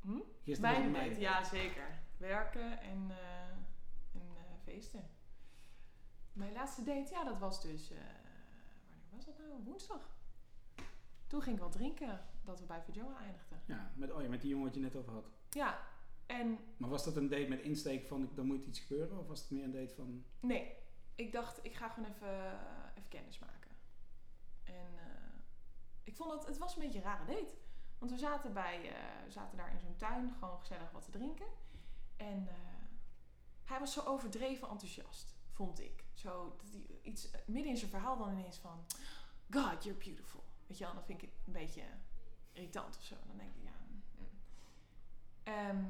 [SPEAKER 2] Hm?
[SPEAKER 3] Gisteren
[SPEAKER 2] Mijn
[SPEAKER 3] was
[SPEAKER 2] date, ja zeker. Werken en, eh, en eh, feesten. Mijn laatste date, ja dat was dus... eh, wanneer was dat nou? Woensdag. Toen ging ik wat drinken, dat we bij Virginia eindigden.
[SPEAKER 3] Ja, met, oh ja, met die jongen wat je net over had.
[SPEAKER 2] Ja, en
[SPEAKER 3] Maar was dat een date met insteek van, er moet iets gebeuren? Of was het meer een date van,
[SPEAKER 2] Nee. ik dacht, ik ga gewoon even, eh, even kennis maken. En eh, ik vond dat het was een beetje een rare date. Want we zaten, bij, eh, we zaten daar in zo'n tuin gewoon gezellig wat te drinken. En eh, hij was zo overdreven enthousiast, vond ik. Zo dat hij iets eh, midden in zijn verhaal dan ineens van... God, you're beautiful. Weet je wel, dan vind ik het een beetje irritant of zo. Dan denk ik, ja... mm. Ehm,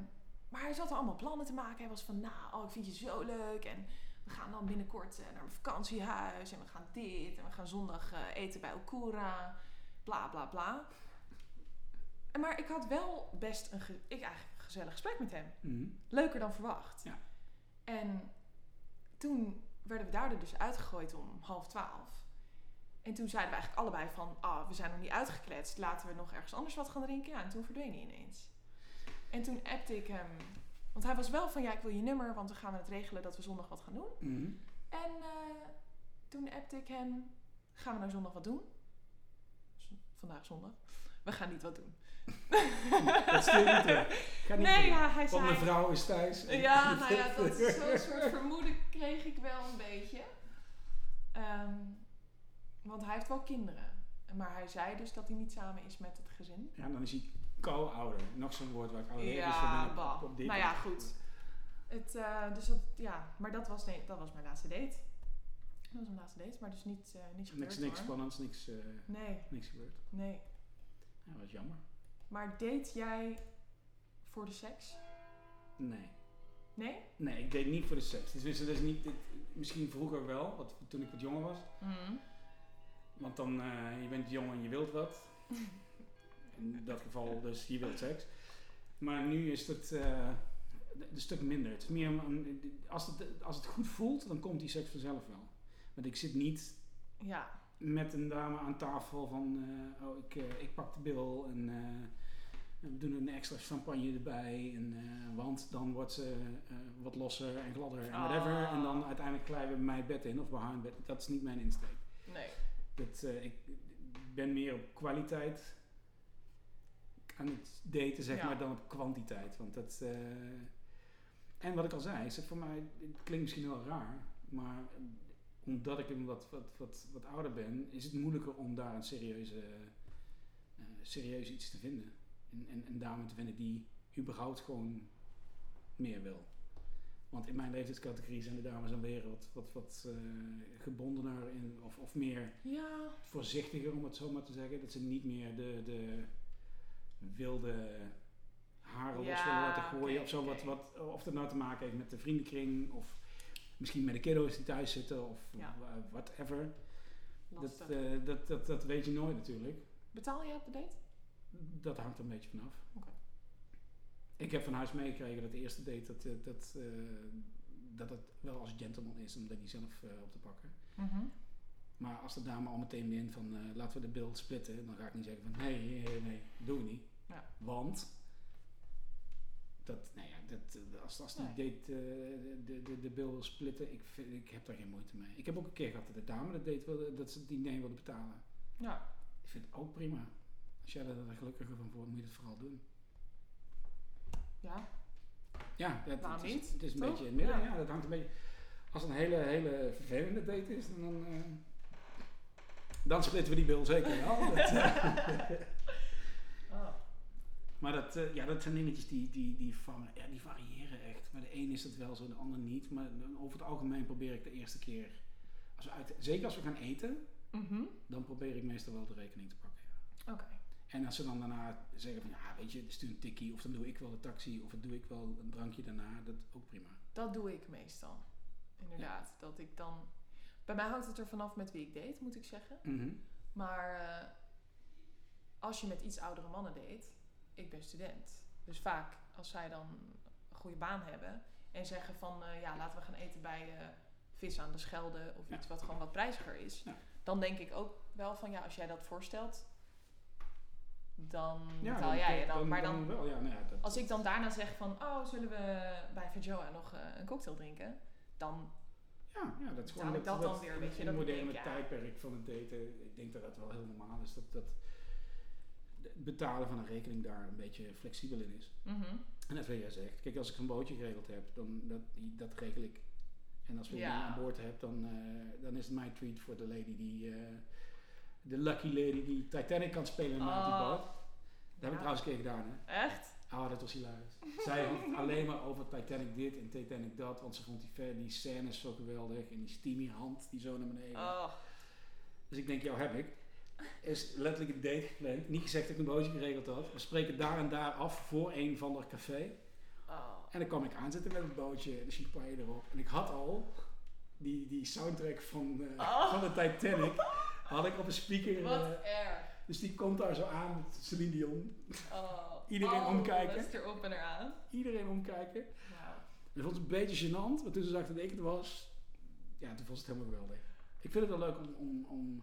[SPEAKER 2] maar hij zat er allemaal plannen te maken. Hij was van, nou, oh, ik vind je zo leuk. En we gaan dan binnenkort eh, naar een vakantiehuis. En we gaan dit. En we gaan zondag eh, eten bij Okura. Bla, bla, bla. En Maar ik had wel best een, ge- ik, eigenlijk een gezellig gesprek met hem
[SPEAKER 3] Mhm.
[SPEAKER 2] leuker dan verwacht.
[SPEAKER 3] Ja.
[SPEAKER 2] En toen werden we daardoor dus uitgegooid om half twaalf. En toen zeiden we eigenlijk allebei van, ah, we zijn nog niet uitgekletst, laten we nog ergens anders wat gaan drinken. Ja, en toen verdween hij ineens. En toen appte ik hem, want hij was wel van, ja, ik wil je nummer, want dan gaan we het regelen dat we zondag wat gaan doen.
[SPEAKER 3] Mhm.
[SPEAKER 2] En eh, toen appte ik hem, gaan we nou zondag wat doen? Z- Vandaag zondag. We gaan niet wat doen.
[SPEAKER 3] Dat stuur je niet weg. Ga niet
[SPEAKER 2] nee,
[SPEAKER 3] weg.
[SPEAKER 2] ja, hij zei...
[SPEAKER 3] Want mijn vrouw is thuis.
[SPEAKER 2] Ja, nou ja, dat is zo'n soort vermoeden kreeg ik wel een beetje. Ehm, want hij heeft wel kinderen. Maar hij zei dus dat hij niet samen is met het gezin.
[SPEAKER 3] Ja, dan is hij co-ouder. Nog zo'n woord waar ik allergisch voor
[SPEAKER 2] Ja,
[SPEAKER 3] ben.
[SPEAKER 2] bah.
[SPEAKER 3] dus Op dit
[SPEAKER 2] Nou ja,
[SPEAKER 3] moment.
[SPEAKER 2] goed. Het, eh, dus dat, ja, maar dat was, nee, dat was mijn laatste date. Dat was mijn laatste date, maar dus niet, eh niets gebeurd
[SPEAKER 3] Niks, niks
[SPEAKER 2] hoor.
[SPEAKER 3] spannends, niks, eh,
[SPEAKER 2] Nee,
[SPEAKER 3] niks gebeurd.
[SPEAKER 2] nee.
[SPEAKER 3] Ja, wat jammer.
[SPEAKER 2] Maar date jij voor de seks?
[SPEAKER 3] Nee.
[SPEAKER 2] Nee?
[SPEAKER 3] Nee, ik deed niet voor de Dus seks. Tenminste, dat is niet, dit- misschien vroeger wel, wat, toen ik wat jonger was. Want dan, eh, je bent jong en je wilt wat. In dat geval dus, je wilt seks. Maar nu is het eh, een stuk minder. Het is meer, een- een- als, het, als het goed voelt, dan komt die seks vanzelf wel. Want ik zit niet
[SPEAKER 2] Ja.
[SPEAKER 3] met een dame aan tafel van, eh, oh, ik, eh, ik pak de bil en eh, we doen een extra champagne erbij. En, eh, want dan wordt ze eh, wat losser en gladder en whatever.
[SPEAKER 2] Ah.
[SPEAKER 3] En dan uiteindelijk kleien we mijn bed in of behind bed. Dat is niet mijn insteek.
[SPEAKER 2] Nee.
[SPEAKER 3] Dat, eh, ik ben meer op kwaliteit aan het daten, zeg
[SPEAKER 2] Ja.
[SPEAKER 3] maar, dan op kwantiteit. Want dat, eh, en wat ik al zei, is het voor mij, het klinkt misschien wel raar, maar omdat ik een wat, wat, wat, wat ouder ben, is het moeilijker om daar een serieuze, eh, serieus iets te vinden. En, en, en dame te vinden die überhaupt gewoon meer wil. Want in mijn leeftijdscategorie zijn de dames dan weer wat, wat, wat eh, gebondener in, of, of meer
[SPEAKER 2] Ja.
[SPEAKER 3] voorzichtiger, om het zo maar te zeggen. Dat ze niet meer de, de wilde haren los
[SPEAKER 2] Ja,
[SPEAKER 3] willen laten gooien.
[SPEAKER 2] oké,
[SPEAKER 3] of, zo,
[SPEAKER 2] oké.
[SPEAKER 3] wat, wat, of dat nou te maken heeft met de vriendenkring. Of misschien met de kiddo's die thuis zitten. Of
[SPEAKER 2] Ja.
[SPEAKER 3] wa- whatever.
[SPEAKER 2] Lastig.
[SPEAKER 3] Dat, eh, dat, dat, dat weet je nooit natuurlijk.
[SPEAKER 2] Betaal jij op de date?
[SPEAKER 3] Dat hangt er een beetje vanaf.
[SPEAKER 2] Oké.
[SPEAKER 3] Ik heb van huis meegekregen dat de eerste date dat, eh, dat, eh, dat het wel als gentleman is om dat niet zelf eh, op te pakken. Maar als de dame al meteen wint van eh, laten we de beeld splitten, dan ga ik niet zeggen van nee, nee, nee, doe ik niet.
[SPEAKER 2] Ja.
[SPEAKER 3] Want dat, nou ja, dat, eh, als, als die
[SPEAKER 2] Nee.
[SPEAKER 3] date eh, de, de, de bill wil splitten, ik, vind- ik heb daar geen moeite mee. Ik heb ook een keer gehad dat de dame dat deed, wilde, dat ze het diner wilde betalen.
[SPEAKER 2] Ja.
[SPEAKER 3] Ik vind het ook prima. Als jij er gelukkiger van wordt, moet je het vooral doen.
[SPEAKER 2] Ja.
[SPEAKER 3] Ja, dat,
[SPEAKER 2] Waarom
[SPEAKER 3] het is,
[SPEAKER 2] niet?
[SPEAKER 3] Het is een
[SPEAKER 2] Toch?
[SPEAKER 3] beetje in het midden.
[SPEAKER 2] Ja.
[SPEAKER 3] Ja. dat hangt een beetje. Als het een hele, hele vervelende date is, dan. eh, dan splitten we die bil zeker wel. Dat, eh, maar dat, eh, ja, dat zijn dingetjes die, die, die, vangen, ja, die variëren echt. Maar de een is het wel zo, de ander niet. Maar over het algemeen probeer ik de eerste keer. Als we uit, zeker als we gaan eten,
[SPEAKER 2] Mhm.
[SPEAKER 3] dan probeer ik meestal wel de rekening te pakken. ja.
[SPEAKER 2] Oké.
[SPEAKER 3] En als ze dan daarna zeggen van ja, weet je, stuur een tikkie, of dan doe ik wel de taxi, of dan doe ik wel een drankje daarna, dat ook prima.
[SPEAKER 2] Dat doe ik meestal. Inderdaad. Dat ik dan... Bij mij hangt het er vanaf met wie ik date, moet ik zeggen.
[SPEAKER 3] Mhm.
[SPEAKER 2] Maar eh, als je met iets oudere mannen date... Ik ben student. Dus vaak als zij dan een goede baan hebben... En zeggen van, eh, ja, laten we gaan eten bij eh, vis aan de Schelde... Of
[SPEAKER 3] Ja.
[SPEAKER 2] iets wat gewoon wat prijziger is.
[SPEAKER 3] Ja.
[SPEAKER 2] Dan denk ik ook wel van, ja, als jij dat voorstelt... Dan
[SPEAKER 3] Ja,
[SPEAKER 2] betaal jij. En dan, maar dan
[SPEAKER 3] wel, ja, nou ja, dat,
[SPEAKER 2] Als ik dan daarna zeg van, oh, zullen we bij Vajoa nog eh, een cocktail drinken? Dan,
[SPEAKER 3] ja, ja, dat is
[SPEAKER 2] Betaal
[SPEAKER 3] gewoon
[SPEAKER 2] ik dat dan weer, weet je,
[SPEAKER 3] in
[SPEAKER 2] dat
[SPEAKER 3] het
[SPEAKER 2] ik
[SPEAKER 3] moderne
[SPEAKER 2] denk, ja.
[SPEAKER 3] tijdperk van het daten, ik denk dat dat wel heel normaal is, dat, dat het betalen van een rekening daar een beetje flexibel in is.
[SPEAKER 2] mhm,
[SPEAKER 3] En dat wil jij zegt, kijk, als ik een bootje geregeld heb, dan dat, die- dat regel ik. En als we
[SPEAKER 2] Ja.
[SPEAKER 3] iemand aan boord hebben, dan, eh, dan is het mijn tweet voor de lady die... eh, de lucky lady die Titanic kan spelen na die
[SPEAKER 2] Oh.
[SPEAKER 3] boot. Dat heb ik
[SPEAKER 2] Ja.
[SPEAKER 3] trouwens een keer gedaan, hè.
[SPEAKER 2] Echt?
[SPEAKER 3] Ah, dat was hilarisch. Zij had alleen maar over Titanic dit en Titanic dat, want ze vond die, ver- die scène zo geweldig en die steamy hand die zo naar beneden.
[SPEAKER 2] Oh.
[SPEAKER 3] Dus ik denk, jou heb ik. Is letterlijk een date gepland. Niet gezegd dat ik een bootje geregeld had. We spreken daar en daar af voor een van de café.
[SPEAKER 2] oh.
[SPEAKER 3] En dan kwam ik aanzetten met het bootje en de champagne erop. En ik had al die, die soundtrack van, eh,
[SPEAKER 2] Oh.
[SPEAKER 3] van de Titanic. Had ik op een speaker. eh,
[SPEAKER 2] Wat erg.
[SPEAKER 3] dus die komt daar zo aan met Celine Dion.
[SPEAKER 2] Oh.
[SPEAKER 3] Iedereen omkijken.
[SPEAKER 2] Alles erop en eraan.
[SPEAKER 3] Iedereen omkijken.
[SPEAKER 2] Wauw.
[SPEAKER 3] En dat vond het een beetje gênant, maar toen ze zag dat ik het was, ja, toen vond ze het helemaal geweldig. Ik vind het wel leuk om, om, om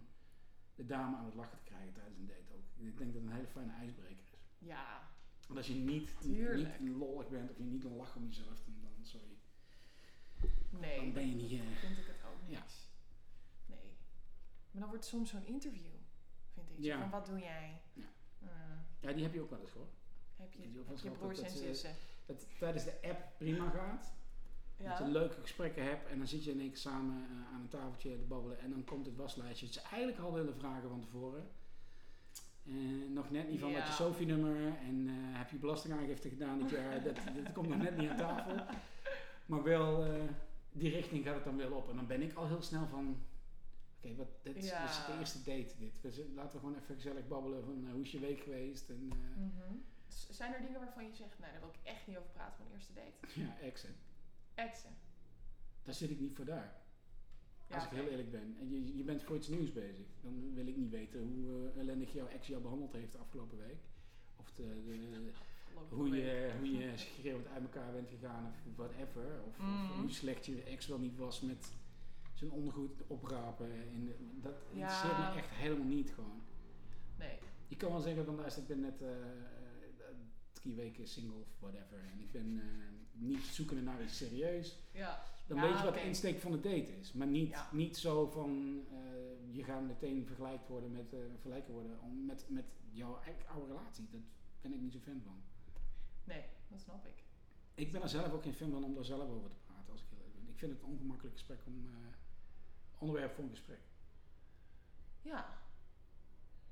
[SPEAKER 3] de dame aan het lachen te krijgen tijdens een date ook. Ik denk dat het een hele fijne ijsbreker is.
[SPEAKER 2] Ja.
[SPEAKER 3] Want als je niet,
[SPEAKER 2] Tuurlijk.
[SPEAKER 3] niet lollig bent of je niet een lach om jezelf, dan, dan, sorry, dan
[SPEAKER 2] Nee.
[SPEAKER 3] ben je niet... eh,
[SPEAKER 2] vind ik het ook
[SPEAKER 3] Ja.
[SPEAKER 2] niks. Nee. Maar dan wordt het soms zo'n interview, vind ik. Zo
[SPEAKER 3] Ja.
[SPEAKER 2] Van wat doe jij?
[SPEAKER 3] Ja.
[SPEAKER 2] Mm.
[SPEAKER 3] ja, die heb je ook wel eens hoor.
[SPEAKER 2] Heb je,
[SPEAKER 3] Ik doe
[SPEAKER 2] heb
[SPEAKER 3] vast
[SPEAKER 2] je
[SPEAKER 3] wel dat
[SPEAKER 2] broers en
[SPEAKER 3] dat, eh,
[SPEAKER 2] zussen?
[SPEAKER 3] Dat het tijdens de app prima gaat, dat je
[SPEAKER 2] Ja.
[SPEAKER 3] leuke gesprekken hebt en dan zit je in één keer samen eh, aan een tafeltje te babbelen en dan komt het waslijstje. Het is eigenlijk al willen vragen van tevoren. Eh, nog net niet van wat je
[SPEAKER 2] Ja.
[SPEAKER 3] SOFI-nummer en eh, heb je belastingaangifte gedaan dit jaar. dat, dat komt nog net niet aan tafel. Maar wel, eh, die richting gaat het dan wel op. En dan ben ik al heel snel van, oké, wat dit is-
[SPEAKER 2] Ja.
[SPEAKER 3] dit is de eerste date dit. We zitten- laten we gewoon even gezellig babbelen van eh, hoe is je week geweest. En, eh,
[SPEAKER 2] Mhm. S- Zijn er dingen waarvan je zegt, nou daar wil ik echt niet over praten van een eerste date?
[SPEAKER 3] Ja, exen.
[SPEAKER 2] Exen.
[SPEAKER 3] Daar zit ik niet voor daar.
[SPEAKER 2] Ja,
[SPEAKER 3] Als ik heel
[SPEAKER 2] oké.
[SPEAKER 3] eerlijk ben. En je, je bent voor iets nieuws bezig. Dan wil ik niet weten hoe eh, ellendig jouw ex jou behandeld heeft de afgelopen week. Of de, de-
[SPEAKER 2] Geloof
[SPEAKER 3] hoe,
[SPEAKER 2] me.
[SPEAKER 3] je, hoe je schreeuwend uit elkaar bent gegaan of whatever. Of, of
[SPEAKER 2] Mhm.
[SPEAKER 3] hoe slecht je ex wel niet was met zijn ondergoed oprapen. En de- dat
[SPEAKER 2] Ja.
[SPEAKER 3] interesseert me echt helemaal niet gewoon.
[SPEAKER 2] Nee.
[SPEAKER 3] Je kan wel zeggen van luister, ik ben net eh, eh, drie weken single of whatever. En ik ben eh, niet zoekende naar iets serieus.
[SPEAKER 2] Ja.
[SPEAKER 3] Dan
[SPEAKER 2] Ja,
[SPEAKER 3] weet je wat
[SPEAKER 2] oké.
[SPEAKER 3] de insteek van de date is. Maar niet,
[SPEAKER 2] Ja.
[SPEAKER 3] niet zo van eh, je gaat meteen vergelijkt worden met, eh, vergelijken worden om, met, met jouw eigen oude relatie. Daar ben ik niet zo fan van.
[SPEAKER 2] Nee, dat snap ik.
[SPEAKER 3] Ik ben er zelf ook geen fan van om daar zelf over te praten als ik heel eerlijk ben. Ik vind het een ongemakkelijk gesprek om eh, onderwerp voor een gesprek.
[SPEAKER 2] Ja.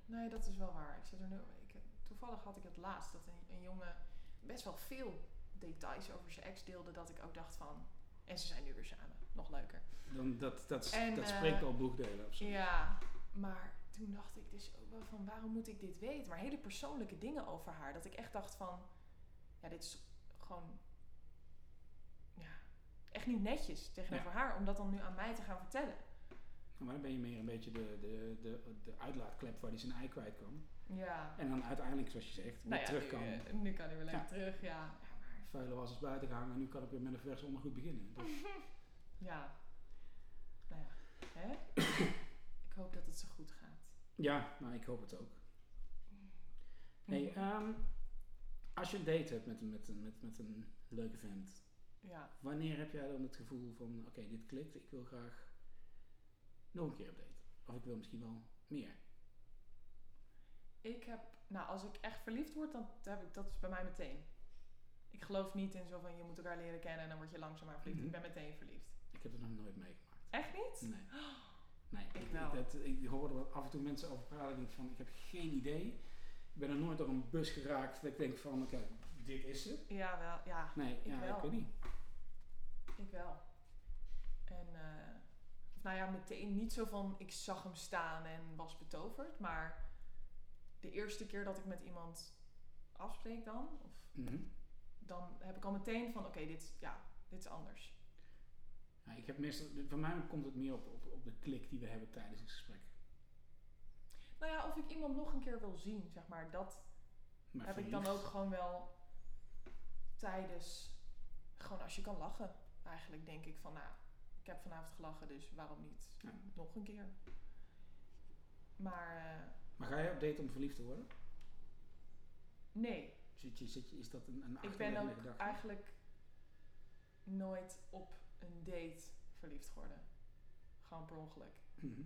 [SPEAKER 2] Nee, dat is wel waar. Ik zit er nu. Ik, toevallig had ik het laatst dat een, een jongen best wel veel details over zijn ex deelde. Dat ik ook dacht van. En ze zijn nu weer samen. Nog leuker.
[SPEAKER 3] Dan, dat dat,
[SPEAKER 2] En,
[SPEAKER 3] dat
[SPEAKER 2] eh,
[SPEAKER 3] spreekt al boekdelen of zo.
[SPEAKER 2] Ja, maar toen dacht ik dus ook wel van waarom moet ik dit weten? Maar hele persoonlijke dingen over haar. Dat ik echt dacht van. Ja, dit is gewoon. Ja. Echt niet netjes tegenover haar om dat dan nu aan mij te gaan vertellen.
[SPEAKER 3] Maar dan ben je meer een beetje de, de, de, de uitlaatklep waar hij zijn ei kwijt kan.
[SPEAKER 2] Ja.
[SPEAKER 3] En dan uiteindelijk, zoals je zegt, weer
[SPEAKER 2] Nou ja,
[SPEAKER 3] terug
[SPEAKER 2] nu,
[SPEAKER 3] kan.
[SPEAKER 2] eh, nu kan hij weer lekker
[SPEAKER 3] Ja.
[SPEAKER 2] terug, ja. Ja, maar
[SPEAKER 3] Vuile was is buiten gehangen en nu kan ik weer met een vers ondergoed beginnen. Dus-
[SPEAKER 2] Ja. Nou ja, hè? ik hoop dat het zo goed gaat.
[SPEAKER 3] Ja, nou, ik hoop het ook. Hey, ehm, als je een date hebt met, een- met, een- met, met een leuke vent,
[SPEAKER 2] Ja.
[SPEAKER 3] wanneer heb jij dan het gevoel van: oké, dit klikt, ik wil graag nog een keer op date? Of ik wil misschien wel meer.
[SPEAKER 2] Ik heb, nou, als ik echt verliefd word, dan heb ik dat is bij mij meteen. Ik geloof niet in zo van je moet elkaar leren kennen en dan word je langzaamaan verliefd.
[SPEAKER 3] Mhm.
[SPEAKER 2] Ik ben meteen verliefd.
[SPEAKER 3] Ik heb dat nog nooit meegemaakt.
[SPEAKER 2] Echt niet?
[SPEAKER 3] Nee. Nee, ik,
[SPEAKER 2] wel.
[SPEAKER 3] dat, ik hoor er wel af en toe mensen over praten. en denk van: ik heb geen idee. Ik ben er nooit door een bus geraakt dat ik denk: van oké, dit is het.
[SPEAKER 2] Ja, wel. Ja,
[SPEAKER 3] Nee,
[SPEAKER 2] Ik
[SPEAKER 3] ja,
[SPEAKER 2] wel.
[SPEAKER 3] ik weet niet.
[SPEAKER 2] ik wel. En, eh, of nou ja, meteen niet zo van ik zag hem staan en was betoverd. Maar de eerste keer dat ik met iemand afspreek dan, of
[SPEAKER 3] Mhm.
[SPEAKER 2] dan heb ik al meteen van, oké, dit, ja, dit is anders.
[SPEAKER 3] Ja, ik heb meestal, voor mij komt het meer op, op, op de klik die we hebben tijdens het gesprek.
[SPEAKER 2] Nou ja, of ik iemand nog een keer wil zien, zeg maar, dat
[SPEAKER 3] Maar
[SPEAKER 2] heb ik
[SPEAKER 3] verliefd-
[SPEAKER 2] dan ook gewoon wel tijdens, gewoon als je kan lachen. Eigenlijk denk ik van, nou, ik heb vanavond gelachen, dus waarom niet
[SPEAKER 3] Ja.
[SPEAKER 2] nog een keer? Maar eh,
[SPEAKER 3] Maar ga jij op date om verliefd te worden?
[SPEAKER 2] nee,
[SPEAKER 3] Zit je, zit je, is dat een, een
[SPEAKER 2] ik ben
[SPEAKER 3] achterliggende
[SPEAKER 2] ook
[SPEAKER 3] gedachte?
[SPEAKER 2] eigenlijk nooit op een date verliefd geworden. Gewoon per ongeluk.
[SPEAKER 3] Mhm.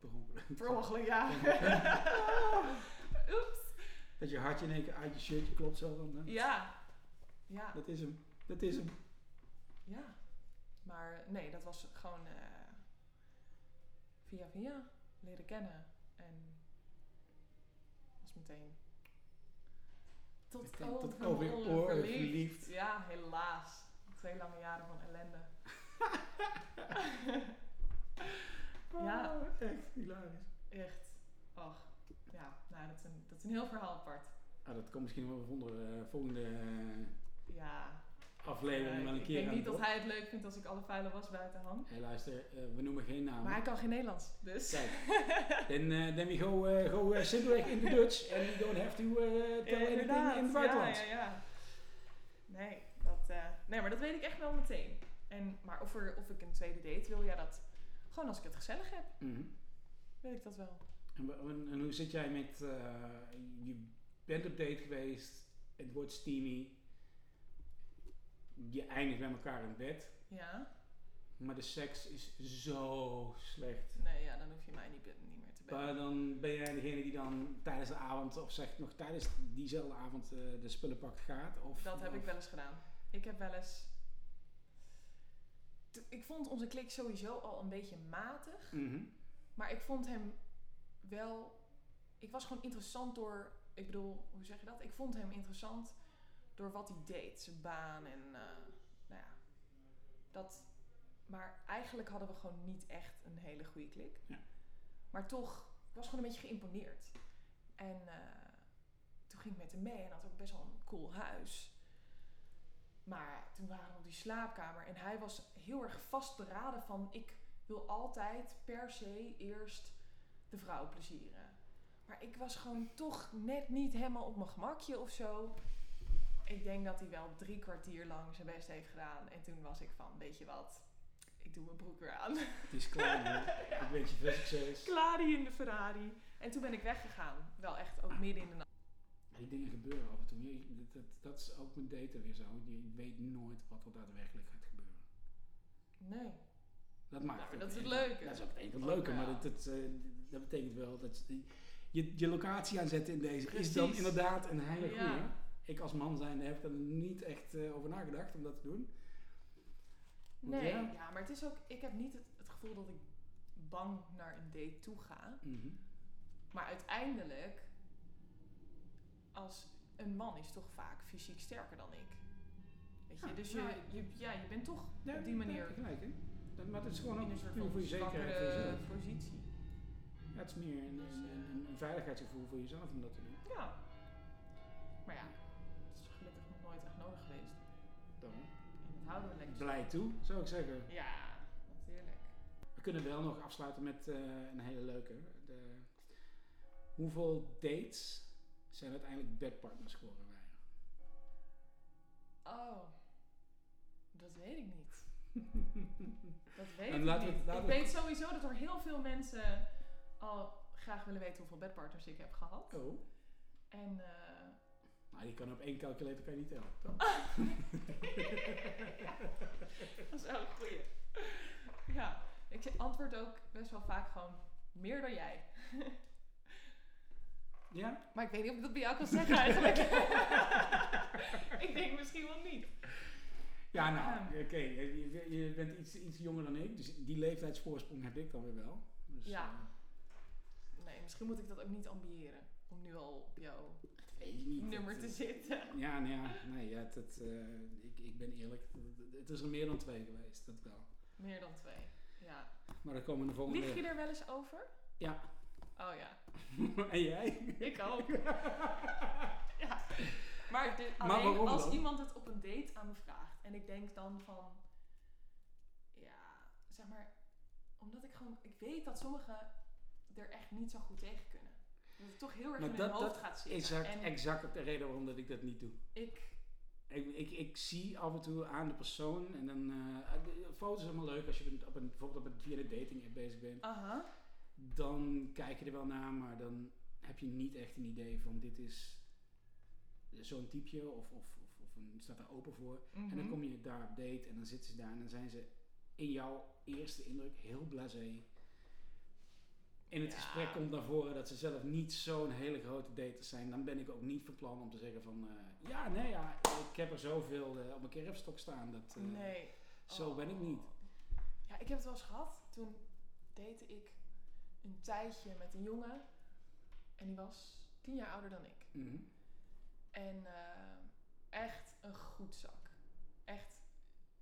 [SPEAKER 3] Per ongeluk.
[SPEAKER 2] Per ongeluk, ja. Oeps.
[SPEAKER 3] Dat je hartje in één keer uit je shirtje klopt zo dan. hè?
[SPEAKER 2] Ja. Ja.
[SPEAKER 3] Dat is hem. Dat is hem.
[SPEAKER 2] Ja. Maar nee, dat was gewoon eh, via via leren kennen. En was meteen tot
[SPEAKER 3] Meteen
[SPEAKER 2] over
[SPEAKER 3] tot
[SPEAKER 2] mijn
[SPEAKER 3] over je
[SPEAKER 2] oren
[SPEAKER 3] oren
[SPEAKER 2] verliefd.
[SPEAKER 3] verliefd.
[SPEAKER 2] Ja, helaas. Twee lange jaren van ellende. Ja.
[SPEAKER 3] Oh, echt hilarisch.
[SPEAKER 2] Echt. Och, ja, nou, dat, is een, dat is een heel verhaal apart.
[SPEAKER 3] Ah, dat kan misschien wel onder de volgende eh,
[SPEAKER 2] Ja,
[SPEAKER 3] aflevering
[SPEAKER 2] eh,
[SPEAKER 3] wel een
[SPEAKER 2] ik
[SPEAKER 3] keer
[SPEAKER 2] denk
[SPEAKER 3] aan
[SPEAKER 2] niet
[SPEAKER 3] bod.
[SPEAKER 2] dat hij het leuk vindt als ik alle vuilen was buiten hand.
[SPEAKER 3] Hey, luister, eh, we noemen geen namen.
[SPEAKER 2] Maar hij kan geen Nederlands, dus...
[SPEAKER 3] Kijk, then, eh, then we go, eh, go eh, simpelweg in the Dutch and we don't have to eh, tell
[SPEAKER 2] Eh,
[SPEAKER 3] anything in
[SPEAKER 2] inderdaad.
[SPEAKER 3] het buitenland.
[SPEAKER 2] Ja, ja, ja. Nee, dat, eh, nee, maar dat weet ik echt wel meteen. En, maar of, er, of ik een tweede date wil, ja, dat... Gewoon als ik het gezellig heb,
[SPEAKER 3] Mhm.
[SPEAKER 2] weet ik dat wel.
[SPEAKER 3] en, wa- en- en hoe zit jij met, eh, je bent op date geweest, het wordt steamy, je eindigt met elkaar in bed,
[SPEAKER 2] Ja?
[SPEAKER 3] maar de seks is zo slecht.
[SPEAKER 2] Nee, ja, dan hoef je mij niet, be- niet meer te bellen.
[SPEAKER 3] Maar dan ben jij degene die dan tijdens de avond, of zeg nog tijdens diezelfde avond, eh, de spullen pakken gaat? Of,
[SPEAKER 2] Dat heb
[SPEAKER 3] of-
[SPEAKER 2] ik wel eens gedaan. Ik heb wel eens... T- Ik vond onze klik sowieso al een beetje matig.
[SPEAKER 3] Mhm.
[SPEAKER 2] Maar ik vond hem wel... Ik was gewoon interessant door... Ik bedoel, hoe zeg je dat? Ik vond hem interessant door wat hij deed. Zijn baan en... eh, nou ja, dat... Maar eigenlijk hadden we gewoon niet echt een hele goede klik.
[SPEAKER 3] Ja.
[SPEAKER 2] Maar toch, ik was gewoon een beetje geïmponeerd. En eh, toen ging ik met hem mee en had ook best wel een cool huis. Maar toen waren we op die slaapkamer en hij was heel erg vastberaden van ik wil altijd per se eerst de vrouw plezieren. Maar ik was gewoon toch net niet helemaal op mijn gemakje of zo. Ik denk dat hij wel drie kwartier lang zijn best heeft gedaan. En toen was ik van, weet je wat, ik doe mijn broek weer aan.
[SPEAKER 3] Het is klaar, hoor. Ik weet je veel succes.
[SPEAKER 2] Klaar hier in de Ferrari. En toen ben ik weggegaan. Wel echt ook midden in de nacht.
[SPEAKER 3] Die dingen gebeuren af en toe. Je- Dat, dat, dat is ook met daten weer zo. Je weet nooit wat er daadwerkelijk gaat gebeuren.
[SPEAKER 2] Nee.
[SPEAKER 3] Dat maakt
[SPEAKER 2] Nou,
[SPEAKER 3] ook
[SPEAKER 2] dat is het
[SPEAKER 3] een-
[SPEAKER 2] leuke.
[SPEAKER 3] Dat is ook het enige
[SPEAKER 2] Ook
[SPEAKER 3] leuke. Maar
[SPEAKER 2] wel.
[SPEAKER 3] dat, dat, eh, dat betekent wel dat je- je, je locatie aanzetten in deze is dan
[SPEAKER 2] Precies.
[SPEAKER 3] inderdaad een hele goede.
[SPEAKER 2] Ja.
[SPEAKER 3] Ik als man zijnde heb er niet echt eh, over nagedacht om dat te doen. Want
[SPEAKER 2] Nee.
[SPEAKER 3] ja.
[SPEAKER 2] Ja. maar het is ook, ik heb niet het, het gevoel dat ik bang naar een date toe ga.
[SPEAKER 3] Mhm.
[SPEAKER 2] Maar uiteindelijk, als een man is toch vaak fysiek sterker dan ik. Weet je,
[SPEAKER 3] Ja,
[SPEAKER 2] dus
[SPEAKER 3] nou,
[SPEAKER 2] je, je, ja, je bent toch
[SPEAKER 3] Ja,
[SPEAKER 2] op die
[SPEAKER 3] daar
[SPEAKER 2] manier
[SPEAKER 3] heb je gelijk, hè? Dat, maar het is gewoon
[SPEAKER 2] in
[SPEAKER 3] ook
[SPEAKER 2] een
[SPEAKER 3] een
[SPEAKER 2] soort
[SPEAKER 3] gevoel voor
[SPEAKER 2] van
[SPEAKER 3] je zekerheid. Voor
[SPEAKER 2] zwakkere
[SPEAKER 3] jezelf.
[SPEAKER 2] positie.
[SPEAKER 3] Ja, het is meer een,
[SPEAKER 2] Dus,
[SPEAKER 3] een- een- een veiligheidsgevoel voor jezelf om dat te doen.
[SPEAKER 2] Ja. Maar ja, dat is gelukkig nog nooit echt nodig geweest.
[SPEAKER 3] Dan
[SPEAKER 2] En dat houden we lekker.
[SPEAKER 3] blij toe, zou ik zeggen.
[SPEAKER 2] Ja, natuurlijk.
[SPEAKER 3] We kunnen wel nog afsluiten met eh, een hele leuke. De, hoeveel dates zijn uiteindelijk bedpartners geworden bij jou?
[SPEAKER 2] Oh, dat weet ik niet. dat weet
[SPEAKER 3] En
[SPEAKER 2] ik
[SPEAKER 3] laten we
[SPEAKER 2] niet. ik
[SPEAKER 3] het- laten we het-
[SPEAKER 2] weet sowieso dat er heel veel mensen al graag willen weten hoeveel bedpartners ik heb gehad.
[SPEAKER 3] Oh.
[SPEAKER 2] En eh,
[SPEAKER 3] Nou, je kan op één calculator kan je niet tellen. toch?
[SPEAKER 2] dat is wel een goeie. ja, ik zeg- antwoord ook best wel vaak gewoon meer dan jij.
[SPEAKER 3] Ja?
[SPEAKER 2] Maar ik weet niet of ik dat bij jou kan zeggen eigenlijk. ik denk misschien wel niet.
[SPEAKER 3] Ja, nou, oké. Je, je- je bent iets, iets jonger dan ik, dus die leeftijdsvoorsprong heb ik dan weer wel. Dus,
[SPEAKER 2] Ja.
[SPEAKER 3] eh,
[SPEAKER 2] Nee, misschien moet ik dat ook niet ambiëren. Om nu al op jouw
[SPEAKER 3] dat weet ik niet.
[SPEAKER 2] nummer
[SPEAKER 3] Dat- eh,
[SPEAKER 2] te zitten.
[SPEAKER 3] Ja, nou ja, nee, ja, het, het, eh, ik, ik ben eerlijk. Het- Het is er meer dan twee geweest, dat wel.
[SPEAKER 2] Meer dan twee. Ja.
[SPEAKER 3] Maar dan komen de volgende.
[SPEAKER 2] Lieg je er wel eens over?
[SPEAKER 3] Ja.
[SPEAKER 2] Oh ja,
[SPEAKER 3] en jij?
[SPEAKER 2] ik ook. ja. Maar, de-
[SPEAKER 3] Maar
[SPEAKER 2] alleen
[SPEAKER 3] waarom
[SPEAKER 2] als
[SPEAKER 3] dan?
[SPEAKER 2] iemand het op een date aan me vraagt en ik denk dan van, ja, zeg maar, omdat ik gewoon, ik weet dat sommigen er echt niet zo goed tegen kunnen. Dat het toch heel erg
[SPEAKER 3] Maar
[SPEAKER 2] in
[SPEAKER 3] dat-
[SPEAKER 2] hun hoofd
[SPEAKER 3] dat
[SPEAKER 2] gaat zitten.
[SPEAKER 3] Exact,
[SPEAKER 2] en
[SPEAKER 3] exact de reden waarom dat ik dat niet doe.
[SPEAKER 2] ik,
[SPEAKER 3] Ik, ik, ik zie af en toe aan de persoon en dan. eh, de foto's zijn allemaal leuk als je op een, bijvoorbeeld op een, via de dating app bezig bent.
[SPEAKER 2] aha,
[SPEAKER 3] Dan kijk je er wel naar, maar dan heb je niet echt een idee van dit is zo'n typeje of, of, of, of een, staat daar open voor. En dan
[SPEAKER 2] mhm.
[SPEAKER 3] kom je daar op date en dan zitten ze daar en dan zijn ze in jouw eerste indruk heel blasé. In het
[SPEAKER 2] Ja.
[SPEAKER 3] gesprek komt naar voren dat ze zelf niet zo'n hele grote daters zijn. Dan ben ik ook niet van plan om te zeggen van... eh, ja, nee, ja, ik heb er zoveel eh, op mijn kerfstok staan. Dat, eh,
[SPEAKER 2] nee.
[SPEAKER 3] Zo
[SPEAKER 2] Oh.
[SPEAKER 3] ben ik niet.
[SPEAKER 2] Ja, ik heb het wel eens gehad. Toen date ik een tijdje met een jongen. En die was tien jaar ouder dan ik.
[SPEAKER 3] Mhm.
[SPEAKER 2] En eh, echt een goed zak. Echt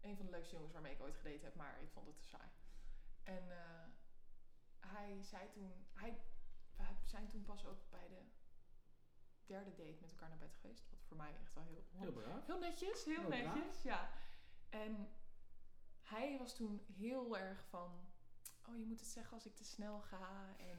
[SPEAKER 2] een van de leukste jongens waarmee ik ooit gedate heb, maar ik vond het te saai. En eh, hij zei toen... Hij, we zijn toen pas ook bij de derde date met elkaar naar bed geweest. Wat voor mij echt wel heel...
[SPEAKER 3] Heel braaf.
[SPEAKER 2] Heel netjes, heel
[SPEAKER 3] Heel braaf.
[SPEAKER 2] netjes, ja. En hij was toen heel erg van... Oh, je moet het zeggen als ik te snel ga. En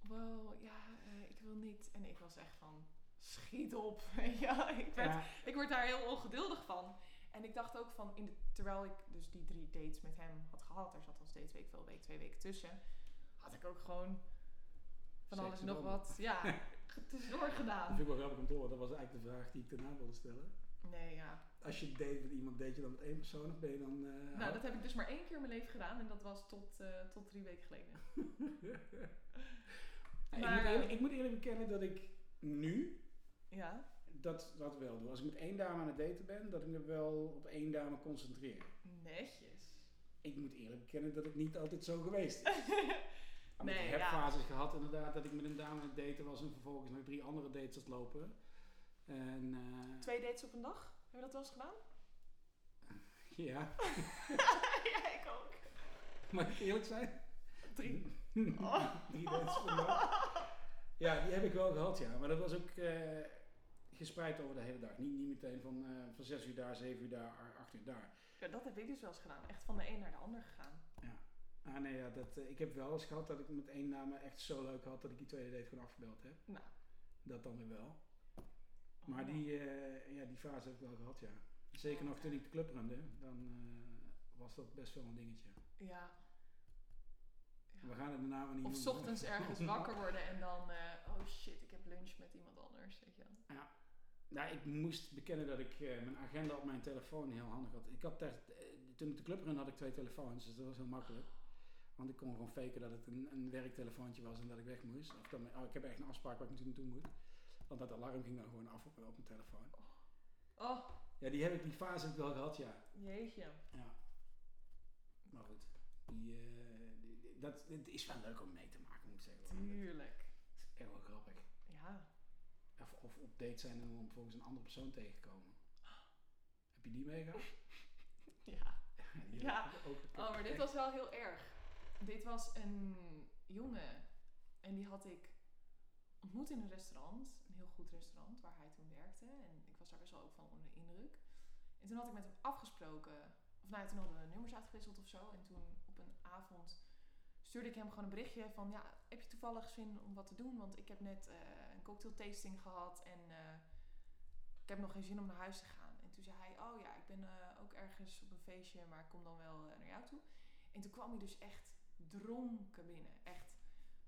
[SPEAKER 2] wow, ja, eh, ik wil niet. En ik was echt van... Schiet op. ja, ik, werd,
[SPEAKER 3] Ja,
[SPEAKER 2] ik word daar heel ongeduldig van. En ik dacht ook van... In de, terwijl ik dus die drie dates met hem had gehad... Er zat al steeds week, veel week, twee weken tussen... Had ik ook gewoon van
[SPEAKER 3] Seks
[SPEAKER 2] alles en
[SPEAKER 3] en
[SPEAKER 2] nog
[SPEAKER 3] ballen.
[SPEAKER 2] wat... Ja, tussendoor
[SPEAKER 3] dat
[SPEAKER 2] gedaan.
[SPEAKER 3] vind ik wel grappig om te horen. Dat was eigenlijk de vraag die ik daarna wilde stellen.
[SPEAKER 2] Nee, ja.
[SPEAKER 3] Als je date met iemand, date je dan met één persoon of ben je dan... eh,
[SPEAKER 2] Nou, dat heb ik dus maar één keer in mijn leven gedaan en dat was tot, eh, tot drie weken geleden.
[SPEAKER 3] Nou,
[SPEAKER 2] maar-
[SPEAKER 3] ik, moet eerlijk, ik moet eerlijk bekennen dat ik nu
[SPEAKER 2] Ja?
[SPEAKER 3] dat, dat wel doe. Als ik met één dame aan het daten ben, dat ik me wel op één dame concentreer.
[SPEAKER 2] Netjes.
[SPEAKER 3] Ik moet eerlijk bekennen dat het niet altijd zo geweest is. Maar
[SPEAKER 2] Nee,
[SPEAKER 3] ik heb fases gehad inderdaad dat ik met een dame aan het daten was en vervolgens nog drie andere dates had lopen. En, eh,
[SPEAKER 2] Twee dates op een dag? Hebben we dat wel eens gedaan?
[SPEAKER 3] Ja,
[SPEAKER 2] ja, ik ook.
[SPEAKER 3] mag ik eerlijk zijn?
[SPEAKER 2] Drie.
[SPEAKER 3] drie dates vandaag. Ja, die heb ik wel gehad, ja. Maar dat was ook eh, gespreid over de hele dag. Niet, niet meteen van, eh, van zes uur daar, zeven uur daar, acht uur daar.
[SPEAKER 2] Ja, dat heb ik dus wel eens gedaan. Echt van de een naar de ander gegaan.
[SPEAKER 3] Ah nee, ja, dat, eh, ik heb wel eens gehad dat ik met één naam echt zo leuk had dat ik die tweede date gewoon afgebeld heb.
[SPEAKER 2] Nou.
[SPEAKER 3] Dat dan weer wel.
[SPEAKER 2] Oh,
[SPEAKER 3] Maar
[SPEAKER 2] man.
[SPEAKER 3] die, eh, ja, die fase heb ik wel gehad, ja. Zeker nog toen ik de club runde, dan eh, was dat best wel een dingetje.
[SPEAKER 2] Ja. Ja.
[SPEAKER 3] We gaan het daarna maar niet
[SPEAKER 2] Of 's
[SPEAKER 3] noemen.
[SPEAKER 2] ochtends ergens wakker worden en dan... eh, oh shit, ik heb lunch met iemand anders, weet je wel.
[SPEAKER 3] Nou, ik moest bekennen dat ik eh, mijn agenda op mijn telefoon heel handig had. Ik had daar, eh, toen ik de club run had ik twee telefoons, dus dat was heel makkelijk. Want ik kon gewoon faken dat het een, een werktelefoontje was en dat ik weg moest. Of dat mijn- oh, ik heb echt een afspraak waar ik natuurlijk naartoe moet. Want dat alarm ging dan gewoon af op, op mijn telefoon.
[SPEAKER 2] Oh,
[SPEAKER 3] Ja, die heb ik, die fase heb ik wel gehad, ja.
[SPEAKER 2] jeetje.
[SPEAKER 3] ja. Maar goed, die, eh, die- die- dat, het is wel leuk om mee te maken, moet ik zeggen. Het
[SPEAKER 2] Tuurlijk.
[SPEAKER 3] is echt wel grappig.
[SPEAKER 2] Ja.
[SPEAKER 3] Of, of op date zijn en dan volgens een andere persoon tegenkomen. Heb je die meegehad?
[SPEAKER 2] Ja.
[SPEAKER 3] Die
[SPEAKER 2] Ja.
[SPEAKER 3] heb ik ook
[SPEAKER 2] Oh, maar dit
[SPEAKER 3] echt-
[SPEAKER 2] was wel heel erg. Dit was een jongen. En die had ik ontmoet in een restaurant. Een heel goed restaurant waar hij toen werkte. En ik was daar best wel ook van onder de indruk. En toen had ik met hem afgesproken. Of nou, ja, toen hadden we nummers uitgewisseld of zo. En toen op een avond stuurde ik hem gewoon een berichtje van... Ja, heb je toevallig zin om wat te doen? Want ik heb net eh, een cocktail tasting gehad en... eh, ik heb nog geen zin om naar huis te gaan. En toen zei hij, oh ja, ik ben eh, ook ergens op een feestje, maar ik kom dan wel eh, naar jou toe. En toen kwam hij dus echt dronken binnen. Echt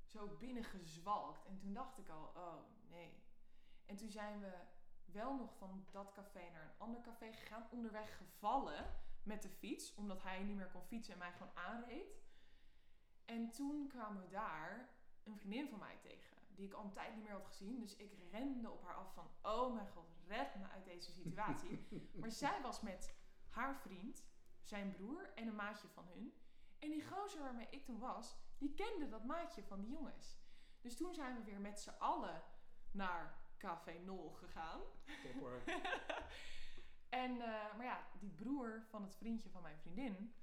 [SPEAKER 2] zo binnengezwalkt. En toen dacht ik al, oh nee. En toen zijn we wel nog van dat café naar een ander café gegaan. Onderweg gevallen met de fiets. Omdat hij niet meer kon fietsen en mij gewoon aanreed. En toen kwamen we daar een vriendin van mij tegen. Die ik al een tijd niet meer had gezien. Dus ik rende op haar af van... Oh mijn god, red me uit deze situatie. maar zij was met haar vriend, zijn broer en een maatje van hun. En die gozer waarmee ik toen was, die kende dat maatje van die jongens. Dus toen zijn we weer met z'n allen naar Café Nol gegaan.
[SPEAKER 3] Top hoor.
[SPEAKER 2] En, eh, maar ja, die broer van het vriendje van mijn vriendin,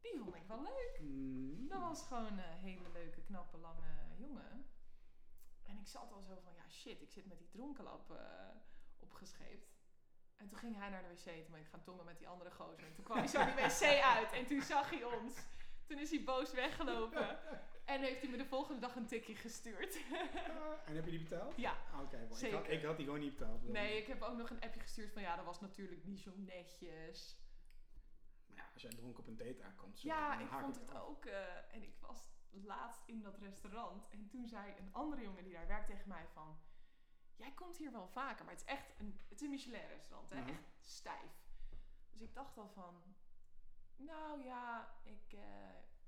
[SPEAKER 2] die vond ik wel leuk.
[SPEAKER 3] Mm.
[SPEAKER 2] Dat was gewoon een hele leuke, knappe, lange jongen. En ik zat al zo van, ja shit, ik zit met die dronkenlap eh, opgescheept. En toen ging hij naar de wc, toen ben ik gaan tongen met die andere gozer. En toen kwam hij zo die wc uit en toen zag hij ons. Toen is hij boos weggelopen. En heeft hij me de volgende dag een tikje gestuurd.
[SPEAKER 3] Ah, En heb je die betaald?
[SPEAKER 2] ja,
[SPEAKER 3] Ah, Oké, mooi. ik, had,
[SPEAKER 2] Zeker.
[SPEAKER 3] ik had die gewoon niet betaald.
[SPEAKER 2] nee, ik heb ook nog een appje gestuurd van, ja, dat was natuurlijk niet zo netjes.
[SPEAKER 3] Maar ja, als jij dronken op een date aankomt, zo,
[SPEAKER 2] Ja,
[SPEAKER 3] dan
[SPEAKER 2] ik
[SPEAKER 3] haak
[SPEAKER 2] vond
[SPEAKER 3] ik
[SPEAKER 2] het
[SPEAKER 3] af.
[SPEAKER 2] ook. eh, en ik was laatst in dat restaurant. En toen zei een andere jongen die daar werkt tegen mij van... Jij komt hier wel vaker, maar het is echt een, het is een Michelin restaurant. Hè?
[SPEAKER 3] Mhm.
[SPEAKER 2] Echt stijf. Dus ik dacht al van... Nou ja, ik eh,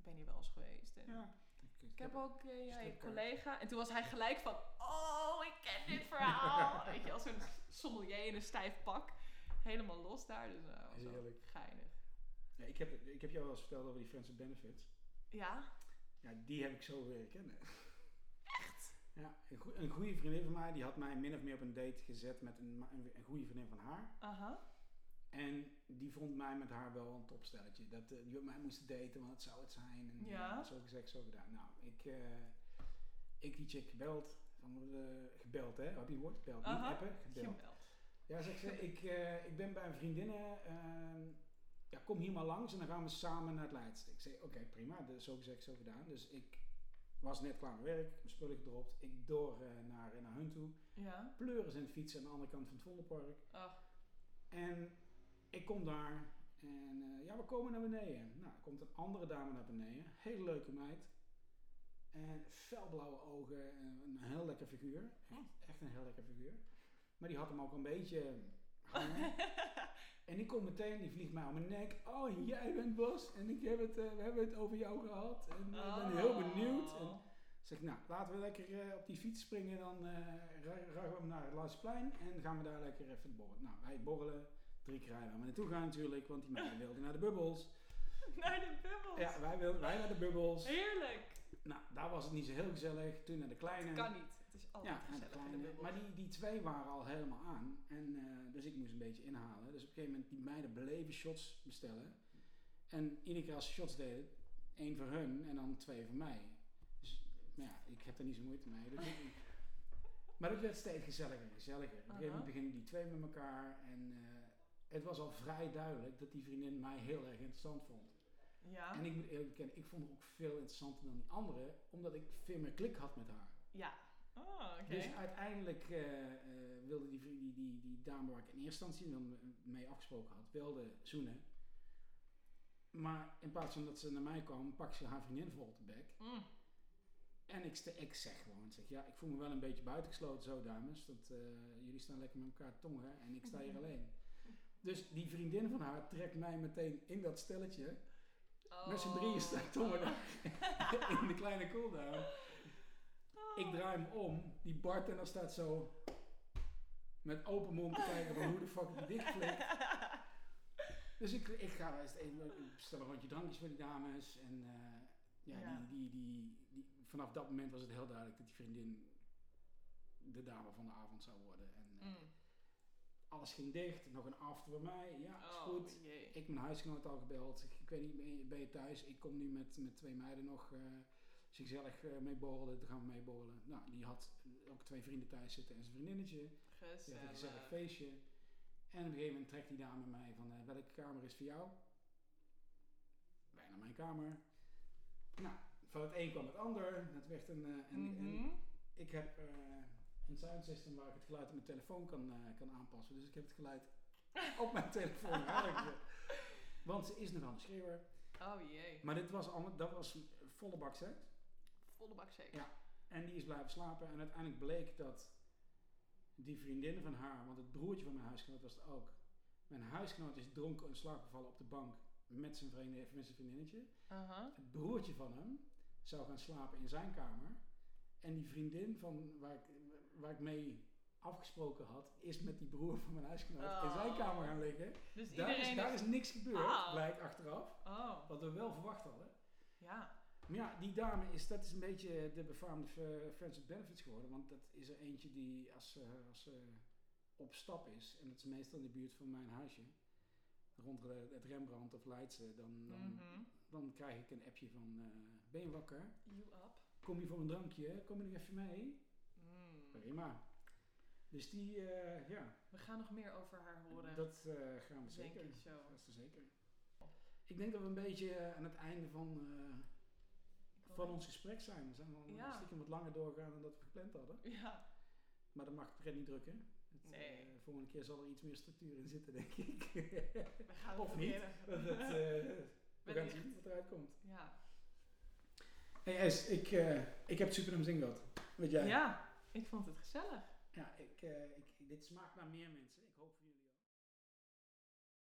[SPEAKER 2] ben hier wel eens geweest. En
[SPEAKER 3] Ja. Ik, ik
[SPEAKER 2] Ik heb ook eh, ja, een
[SPEAKER 3] Stripkaart.
[SPEAKER 2] collega. En toen was hij gelijk van... Oh, ik ken dit verhaal. Weet je, als een sommelier in een stijf pak. Helemaal los daar. Dus eh, was wel
[SPEAKER 3] Heerlijk.
[SPEAKER 2] geinig.
[SPEAKER 3] Ja, ik, heb, ik heb jou wel eens verteld over die Friends and Benefits.
[SPEAKER 2] Ja?
[SPEAKER 3] Ja, die heb ik zo leren kennen. Echt? Ja, een, goe- een goede vriendin van mij, die had mij min of meer op een date gezet met een, ma- een, een goede vriendin van haar.
[SPEAKER 2] Aha.
[SPEAKER 3] En die vond mij met haar wel een topstelletje. Dat eh, die met mij moest daten, want het zou het zijn. En
[SPEAKER 2] Ja.
[SPEAKER 3] eh, zo gezegd, zo gedaan. Nou, ik, eh, ik die chick gebeld. Van, eh, gebeld, hè? Heb je het woord? Gebeld.
[SPEAKER 2] Aha.
[SPEAKER 3] Niet appen, gebeld.
[SPEAKER 2] Gemeld.
[SPEAKER 3] Ja, zegt ze, ik, eh, ik ben bij een vriendin. eh, ehm, ja, kom hier maar langs en dan gaan we samen naar het Leidst. Ik zei, oké, prima. Dus zo gezegd, zo gedaan. Dus ik was net klaar met werk, mijn spullen gedropt. Ik door eh, naar, naar hun toe.
[SPEAKER 2] Ja.
[SPEAKER 3] Pleuren in het fietsen aan de andere kant van het Vondelpark.
[SPEAKER 2] Oh.
[SPEAKER 3] En ik kom daar. En eh, ja, we komen naar beneden. Nou, er komt een andere dame naar beneden. Hele leuke meid. En felblauwe ogen. En een heel lekker figuur. Echt, echt een heel lekker figuur. Maar die had hem ook een beetje hangen. en die komt meteen, die vliegt mij om mijn nek. Oh, jij bent Bos. En ik heb het, eh, we hebben het over jou gehad. En eh, ik ben heel
[SPEAKER 2] Oh.
[SPEAKER 3] benieuwd. En zeg ik, nou, laten we lekker eh, op die fiets springen. Dan eh ra- ragen we hem naar het Laatsplein en gaan we daar lekker even borrelen. Nou, wij borrelen. Drie keer rijden waar we naartoe gaan natuurlijk, want die meiden wilden naar de bubbels.
[SPEAKER 2] Oh. Naar de bubbels.
[SPEAKER 3] Ja, wij wilden wij naar de bubbels.
[SPEAKER 2] Heerlijk.
[SPEAKER 3] Nou, daar was het niet zo heel gezellig. Toen naar de kleine.
[SPEAKER 2] Kan niet. Het is altijd
[SPEAKER 3] Ja, naar de
[SPEAKER 2] gezellig in de
[SPEAKER 3] kleine.
[SPEAKER 2] bubbels.
[SPEAKER 3] Maar die, die twee waren al helemaal aan. En, eh, dus ik moest een beetje inhalen. Dus op een gegeven moment die meiden bleven shots bestellen. En iedere keer als ze shots deden, één voor hun en dan twee voor mij. Dus maar ja, ik heb er niet zo moeite mee. Dus ik- maar dat werd steeds gezelliger en gezelliger. Op een gegeven moment
[SPEAKER 2] Aha.
[SPEAKER 3] beginnen die twee met elkaar. En eh, het was al vrij duidelijk dat die vriendin mij heel erg interessant vond.
[SPEAKER 2] Ja.
[SPEAKER 3] En ik moet eerlijk bekennen, ik vond haar ook veel interessanter dan die andere. Omdat ik veel meer klik had met haar.
[SPEAKER 2] Ja. Oh, oké.
[SPEAKER 3] Dus uiteindelijk eh, eh, wilde die, vriend- die, die, die dame waar ik in eerste instantie dan eh, mee afgesproken had, wilde zoenen. Maar in plaats van dat ze naar mij kwam, pakte ze haar vriendin vol op de bek.
[SPEAKER 2] Mm.
[SPEAKER 3] En ik, ste- ik zeg gewoon, ik zeg, ja, ik voel me wel een beetje buitengesloten zo dames. Dat, eh, jullie staan lekker met elkaar te tongen en ik sta hier alleen. Dus die vriendin van haar trekt mij meteen in dat stelletje.
[SPEAKER 2] Oh.
[SPEAKER 3] Met z'n drieën sta ik tongen daar in de kleine cooldown.
[SPEAKER 2] Oh.
[SPEAKER 3] Ik draai hem om, die bartender staat zo met open mond te kijken van hoe de fuck die dicht flikt. Dus ik, ik ga eens even, ik bestel een rondje drankjes voor die dames. En eh, ja,
[SPEAKER 2] Ja.
[SPEAKER 3] Die, die, die, die, vanaf dat moment was het heel duidelijk dat die vriendin de dame van de avond zou worden. En eh,
[SPEAKER 2] Mm.
[SPEAKER 3] alles ging dicht, nog een after bij mij. Ja, is
[SPEAKER 2] Oh,
[SPEAKER 3] goed.
[SPEAKER 2] jee.
[SPEAKER 3] Ik mijn huisgenoot al gebeld. Ik, ik weet niet, ben je, ben je thuis? Ik kom nu met, met twee meiden nog eh zichzelf eh, mee borrelen. Dan gaan we mee borrelen. Nou, die had ook twee vrienden thuis zitten en zijn vriendinnetje. Die had een gezellig
[SPEAKER 2] Gezellig.
[SPEAKER 3] feestje. En op een gegeven moment trekt die dame mij van, eh, welke kamer is voor jou? Wij naar mijn kamer. Nou, van het een kwam het ander. Dat werd een... eh, een- een
[SPEAKER 2] Mhm.
[SPEAKER 3] ik heb eh, een sound system waar ik het geluid op mijn telefoon kan, eh, kan aanpassen. Dus ik heb het geluid op mijn telefoon aangezet. Want ze is nogal een schreeuwer.
[SPEAKER 2] Oh jee.
[SPEAKER 3] Maar dit was allemaal, dat was volle bak seks.
[SPEAKER 2] Volle bak zeker.
[SPEAKER 3] Ja. En die is blijven slapen. En uiteindelijk bleek dat die vriendin van haar, want het broertje van mijn huisgenoot was het ook. Mijn huisgenoot is dronken en slaapgevallen op de bank met zijn, vriendin, met zijn vriendinnetje.
[SPEAKER 2] Aha.
[SPEAKER 3] Het broertje van hem zou gaan slapen in zijn kamer. En die vriendin van waar ik, waar ik mee afgesproken had, is met die broer van mijn huisgenoot in
[SPEAKER 2] Oh.
[SPEAKER 3] zijn kamer gaan liggen.
[SPEAKER 2] Dus
[SPEAKER 3] Daar is,
[SPEAKER 2] iedereen
[SPEAKER 3] daar is niks gebeurd,
[SPEAKER 2] Ah.
[SPEAKER 3] blijkt achteraf.
[SPEAKER 2] Oh,
[SPEAKER 3] Wat we wel verwacht hadden.
[SPEAKER 2] ja.
[SPEAKER 3] Maar ja, die dame is, dat is een beetje de befaamde eh, Friends with Benefits geworden. Want dat is er eentje die als ze als, ze op stap is, en dat is meestal in de buurt van mijn huisje, rond de- het Rembrandt of Leidse, dan, dan,
[SPEAKER 2] Mhm.
[SPEAKER 3] dan krijg ik een appje van, eh, ben je wakker?
[SPEAKER 2] You up.
[SPEAKER 3] Kom je voor een drankje? Kom je nog even mee?
[SPEAKER 2] Mm.
[SPEAKER 3] Prima. Dus die, eh, ja,
[SPEAKER 2] We gaan nog meer over haar horen.
[SPEAKER 3] dat eh, gaan we
[SPEAKER 2] denk
[SPEAKER 3] zeker.
[SPEAKER 2] ik zo.
[SPEAKER 3] Dat is er zeker. Ik denk dat we een beetje eh, aan het einde van, eh,
[SPEAKER 2] Ik
[SPEAKER 3] van
[SPEAKER 2] hoor-
[SPEAKER 3] ons gesprek zijn. We zijn al
[SPEAKER 2] Ja.
[SPEAKER 3] een stiekem wat langer doorgaan dan dat we gepland hadden.
[SPEAKER 2] Ja.
[SPEAKER 3] Maar dat mag het pret niet drukken. Het,
[SPEAKER 2] Nee.
[SPEAKER 3] eh, volgende keer zal er iets meer structuur in zitten, denk ik.
[SPEAKER 2] We gaan
[SPEAKER 3] of
[SPEAKER 2] het
[SPEAKER 3] niet.
[SPEAKER 2] proberen.
[SPEAKER 3] Want het, eh, we gaan
[SPEAKER 2] Wellicht.
[SPEAKER 3] zien wat eruit komt.
[SPEAKER 2] Ja.
[SPEAKER 3] Hey S, ik, eh, ik heb super naar mijn zin gehad. Weet jij?
[SPEAKER 2] ja, ik vond het gezellig.
[SPEAKER 3] Ja, ik, eh, ik, dit smaakt naar meer mensen.